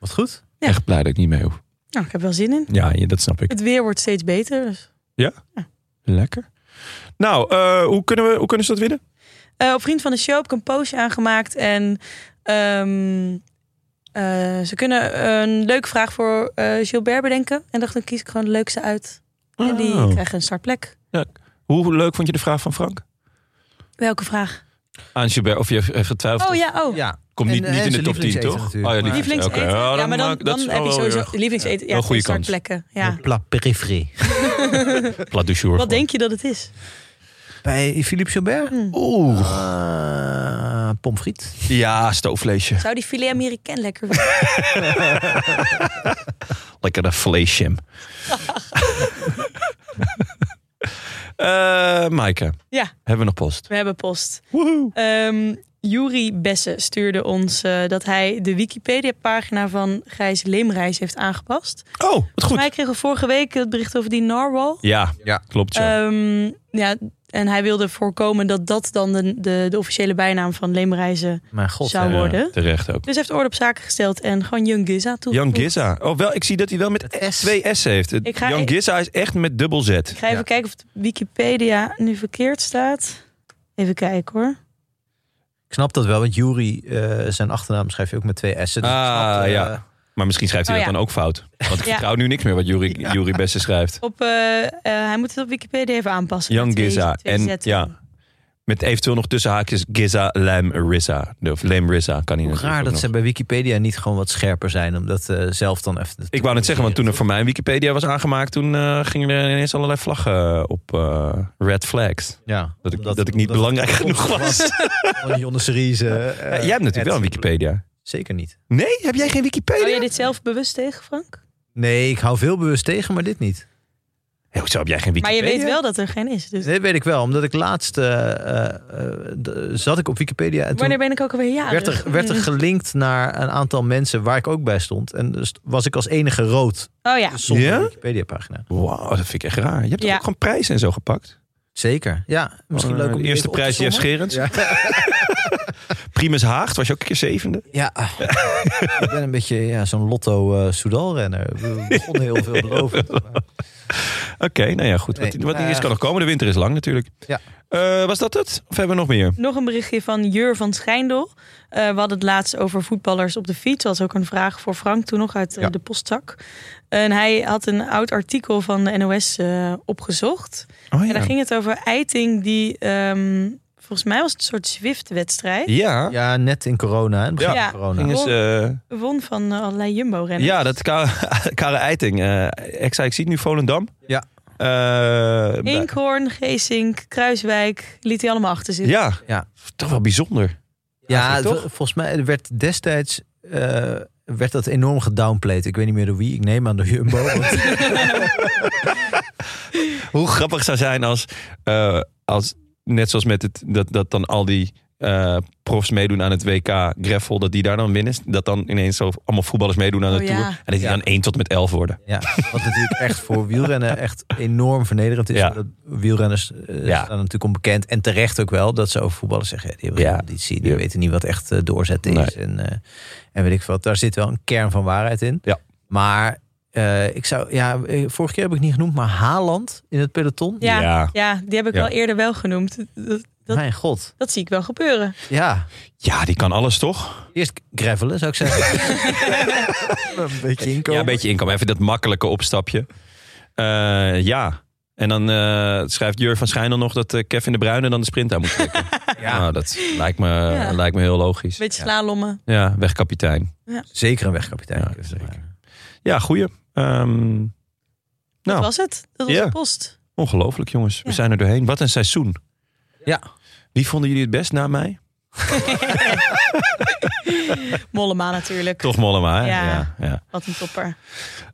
Wat goed. Ja. Echt blij dat ik niet mee hoef. Nou, ik heb wel zin in. Ja, ja, dat snap ik. Het weer wordt steeds beter. Dus. Lekker. Nou, eh, hoe, kunnen we, hoe kunnen ze dat winnen? Eh, op Vriend van de Show heb ik een postje aangemaakt. En ehm, eh, ze kunnen een leuke vraag voor eh, Gilbert bedenken. En dacht, dan kies ik gewoon de leukste uit. En die Oh. krijgen een startplek. Hoe leuk vond je de vraag van Frank? Welke vraag? Aan Gilbert, of je hebt hebt getwijfeld. Oh ja, oh. Ja. Komt niet, En, eh, niet in de zijn top 10, lievelingseten toch? natuurlijk. Oh ja, Maar- lievelingseten. Lievelingseten. Oké, oh, ja, maar dan, maak- dat dan is heb je wel sowieso weer lievelingseten. Ja, wel goede kans. startplekken. Ja. La peripherie. plat du jour Wat van. denk je dat het is? Bij Philippe Gilbert? Hmm. Oeh. Uh, pomfriet. Ja, stoofvleesje. Zou die filet américain lekker zijn? Lekker dat vleesje. Eh Maaike, Ja, hebben we nog post? we hebben post. Ehm Juri Besse stuurde ons eh, dat hij de Wikipedia-pagina van Gijs Leemreis heeft aangepast. Oh, wat Volgens goed. mij kregen we vorige week het bericht over die narwhal. Ja, Ja. klopt zo. Ehm, ja, en hij wilde voorkomen dat dat dan de, de, de officiële bijnaam van Leemreizen Mijn god. zou Ja, worden. terecht ook. Dus hij heeft orde op zaken gesteld en gewoon Young Giza toe. Jan Giza. Oh, wel, ik zie dat hij wel met Het S. twee S heeft. Ik ga- e- Jan Giza is echt met dubbel Z. Ik ga even Ja. kijken of het Wikipedia nu verkeerd staat. Even kijken hoor. Ik snap dat wel, want Jury, eh, zijn achternaam schrijf je ook met twee S'en. Dus ik Ah, snap, eh, ja. Maar misschien schrijft hij Oh, dat ja. dan ook fout. Want ik Ja. vertrouw nu niks meer wat Jury, Jury Besse schrijft. Op, eh, eh, hij moet het op Wikipedia even aanpassen. Jan Met twee- Giza. twee En zetten. ja, met eventueel nog tussen haakjes Giza Lam Rissa. Of Lam Rissa kan hij Hoe natuurlijk raar ook dat nog. ze bij Wikipedia niet gewoon wat scherper zijn. Om dat eh, zelf dan even... Ik wou net zeggen, want toen er voor mij Wikipedia was aangemaakt... toen eh, gingen er ineens allerlei vlaggen op eh, red flags. Ja, Dat ik, omdat- dat ik niet omdat- belangrijk genoeg was. Van Jonne Series. eh, eh, Jij hebt natuurlijk wel het- een Wikipedia. Zeker niet. Nee? Heb jij geen Wikipedia? Hou je dit zelf bewust tegen, Frank? Nee, ik hou veel bewust tegen, maar dit niet. Hé, hoezo heb jij geen Maar je Wikipedia? weet wel dat er geen is. Dus. Nee, dat weet ik wel, omdat ik laatst eh, eh, eh, d- zat ik op Wikipedia en toen Wanneer ben ik ook alweer werd jarig? er, werd er gelinkt naar een aantal mensen waar ik ook bij stond. En dus was ik als enige rood Oh ja. zonder Ja? Wikipedia pagina. Wauw, dat vind ik echt raar. Je hebt toch Ja. ook gewoon prijzen en zo gepakt? Zeker. Ja, misschien Eh, leuk om De die eerste even op te prijs Jeff sommen. Scherens. Primus Haag, was je ook een keer zevende? Ja, ik ben een beetje ja, zo'n Lotto eh, Soudal-renner. We begonnen heel veel belovend. maar- Oké, nou ja, goed. Nee, wat wat nou niet is ja, kan nog komen. De winter is lang natuurlijk. Ja. Eh, was dat het? Of hebben we nog meer? Nog een berichtje van Jur van Schijndel. Eh, we hadden het laatst over voetballers op de fiets. Dat was ook een vraag voor Frank toen nog uit eh, Ja. de postzak. En hij had een oud artikel van de NOS eh, opgezocht. Oh En daar ja. ging het over Eiting die... ehm, volgens mij was het een soort Zwift-wedstrijd. Ja. Ja, nou. net in corona. hè, Het begin Ja. van corona. Gingen ze, Won van eh, allerlei Jumbo-renners. ja, dat Kare, Kare Eiting. eh ik zei, ik zie het nu Volendam. Ja. Eh, bij- Inkhorn, Geesink, Kruiswijk liet hij allemaal achter zitten. ja. Ja. Toch wel bijzonder. Ja, Eigenlijk vol- volgens mij werd destijds eh, werd dat enorm gedownplayed. Ik weet niet meer door wie. Ik neem aan door Jumbo. want- Hoe grappig zou zijn als, eh, als net zoals met het, dat, dat dan al die eh, profs meedoen aan het WK Greffel, dat die daar dan winnen. Dat dan ineens zo allemaal voetballers meedoen aan de Oh, ja. Tour. En dat die Ja. dan 1 tot met 11 worden. ja, wat natuurlijk echt voor wielrennen echt enorm vernederend is. Ja. Dat wielrenners eh, Ja. staan natuurlijk onbekend. En terecht ook wel dat ze over voetballers zeggen... ja, die hebben Ja. geen conditie, die Ja. weten niet wat echt eh, doorzetten Nee. is. En, eh, en weet ik wat. Daar zit wel een kern van waarheid in. Ja. Maar eh, ik zou... Ja, eh, vorige keer heb ik niet genoemd, maar Haaland in het peloton. Ja, Ja. ja. die heb ik Ja. wel eerder wel genoemd. Dat, dat, Mijn god. dat zie ik wel gebeuren. Ja. Ja, die kan alles toch? Eerst gravelen, zou ik zeggen. een beetje Ja, een beetje inkomen. Even dat makkelijke opstapje. Eh, ja. En dan eh, schrijft Jur van Schijndel nog dat eh, Kevin de Bruyne dan de sprint aan moet trekken. ja. Nou, dat lijkt me, Ja. lijkt me heel logisch. Beetje slalommen. Ja, wegkapitein. Zeker een wegkapitein. Ja, zeker. Ja, goeie. Ehm, Dat nou, was het. Dat was Ja. de post. ongelooflijk jongens. We Ja. zijn er doorheen. Wat een seizoen. Ja. Wie vonden jullie het best na mij? Mollema natuurlijk. Toch Mollema, hè? Ja. Ja, ja. Wat een topper.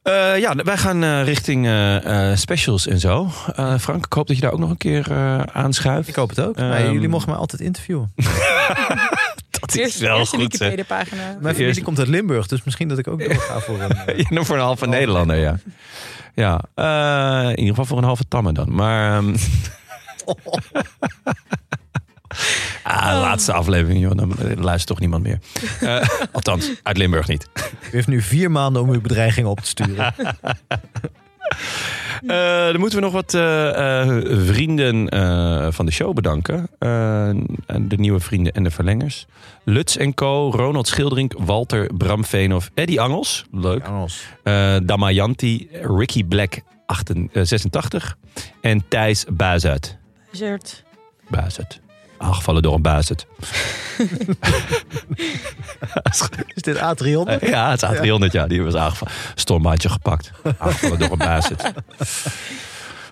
Eh, ja, wij gaan eh, richting eh, eh, specials en zo. Eh, Frank, ik hoop dat je daar ook nog een keer eh aanschuift. Ik hoop het ook. Ehm, Maar jullie mogen mij altijd interviewen. dat Eerst, is wel eerst goed, zeg. Wikipedia pagina. Mijn familie eerst- komt uit Limburg, dus misschien dat ik ook doorga voor een... eh, Ja, voor een halve Nederlander, ja. Ja, eh, in ieder geval voor een halve tamme dan. Maar... ehm, ah, laatste aflevering, joh. Dan luistert toch niemand meer. Eh, althans, uit Limburg niet. U heeft nu vier maanden om uw bedreigingen op te sturen. Eh, dan moeten we nog wat eh, eh, vrienden eh, van de show bedanken. Eh, de nieuwe vrienden en de verlengers. Lutz en Co, Ronald Schilderink, Walter Bramveenhoff, Eddie Angels. Leuk. Engels. Eh, Damayanti, Ricky Black 88, eh, 86 en Thijs Bazuit. Zert. Bazuit. Aangevallen door een Bazuit. Is dit A300? Eh, ja, het is A300, ja. Die was aangevallen. Stormbaantje gepakt. Aangevallen door een Bazuit.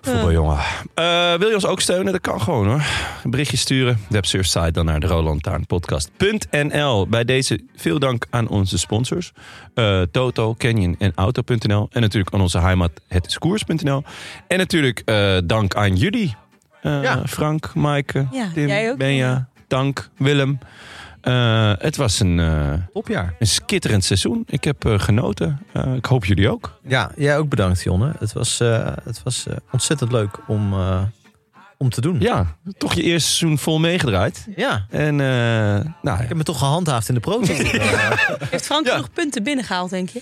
Voetbaljongen. Eh, wil je ons ook steunen? Dat kan gewoon hoor. Een berichtje sturen. Websurfsite dan naar de rolandtaarnpodcast.nl. Bij deze veel dank aan onze sponsors. Eh, Toto, Canyon en Auto.nl. En natuurlijk aan onze heimat het is koers.nl. En natuurlijk eh, dank aan jullie. Eh, Ja. Frank, Maaike, Ja, Tim, jij ook. Benja, Dank, Willem. Eh, het was een, eh, Topjaar. een skitterend seizoen. Ik heb eh, genoten. Eh, ik hoop jullie ook. Ja, jij ook bedankt, Jonne. Het was, eh, het was eh, ontzettend leuk om, eh, om te doen. Ja, toch je eerste seizoen vol meegedraaid. Ja. En eh, nou, ja. Ik heb me toch gehandhaafd in de proto. Ja. Heeft Frank Ja. nog punten binnengehaald, denk je?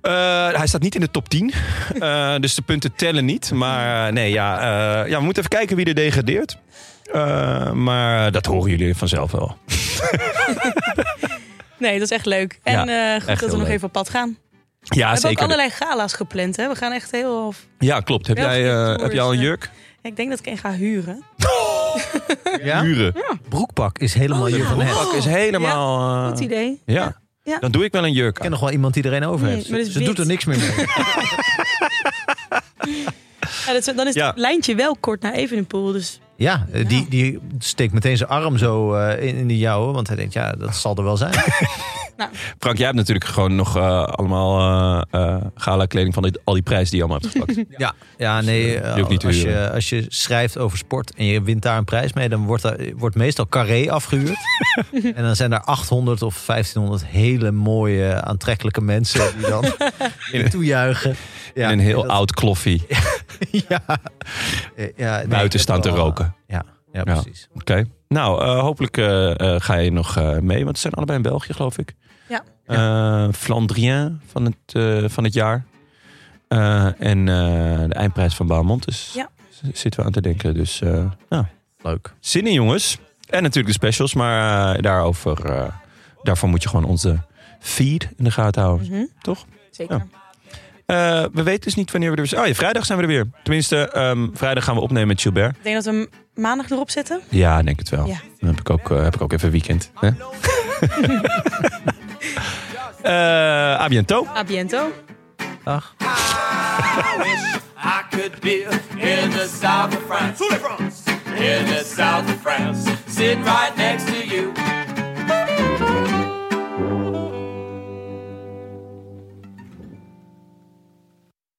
Eh, hij staat niet in de top 10. Eh, dus de punten tellen niet. Maar eh, nee, ja, eh, ja, we moeten even kijken wie er degradeert. Eh, maar dat horen jullie vanzelf wel. Nee, dat is echt leuk. En eh, goed echt dat we heel nog leuk. even op pad gaan. We Ja, hebben ook zeker. allerlei gala's gepland. Hè? We gaan echt heel... Ja, klopt. Heb Wel jij, goede eh, tours, heb jij al een eh. jurk? Ik denk dat ik een ga huren. Ja? Huren. Broekpak is helemaal Oh, je ja. van hem. Oh. Pak is helemaal... eh, Goed idee. ja. Ja. dan doe ik wel een jurk Ik ken aan. nog wel iemand die er een over Nee, heeft. maar dat is Ze doet wit. er niks meer mee. Ja, dat- dan is Ja. het lijntje wel kort naar Evenepoel. Dus Ja, eh, Die, die steekt meteen zijn arm zo eh, in, in de jouwe. Want hij denkt, ja, dat zal er wel zijn. Frank, jij hebt natuurlijk gewoon nog eh, allemaal eh gala kleding van dit- al die prijzen die je allemaal hebt gepakt. Ja, ja nee. eh, eh, die ook niet te als, huren. je, als je schrijft over sport en je wint daar een prijs mee, dan wordt, daar, wordt meestal carré afgehuurd. en dan zijn er 800 of 1500 hele mooie, aantrekkelijke mensen die dan toejuichen. Ja, in een heel dat- oud kloffie. ja, Eh, ja, nee, Buiten dat staan te wel, roken. eh, Ja, Ja. ja, precies. Oké. Nou, eh, hopelijk eh, eh, ga je nog eh, mee, want ze zijn allebei in België, geloof ik. Ja. Eh, Flandrien van het, eh, van het jaar. Eh, en eh, de eindprijs van Baalmond. Dus Ja. z- zitten we aan te denken. Dus eh, ja, Leuk. zin in, jongens. En natuurlijk de specials, maar eh, daarover, eh, daarvoor moet je gewoon onze feed in de gaten houden. mhm. Toch? Zeker. Ja. Eh, we weten dus niet wanneer we er weer zijn. Oh ja, vrijdag zijn we er weer. Tenminste, ehm, vrijdag gaan we opnemen met Gilbert. Ik denk dat we hem maandag erop zetten. Ja, ik denk het wel. Ja. Dan heb ik ook, eh, heb ik ook even weekend. Hè? Eh, à bientôt. A biento. Dag. I could be in the south of France. In the south of France. Sitting right next to you.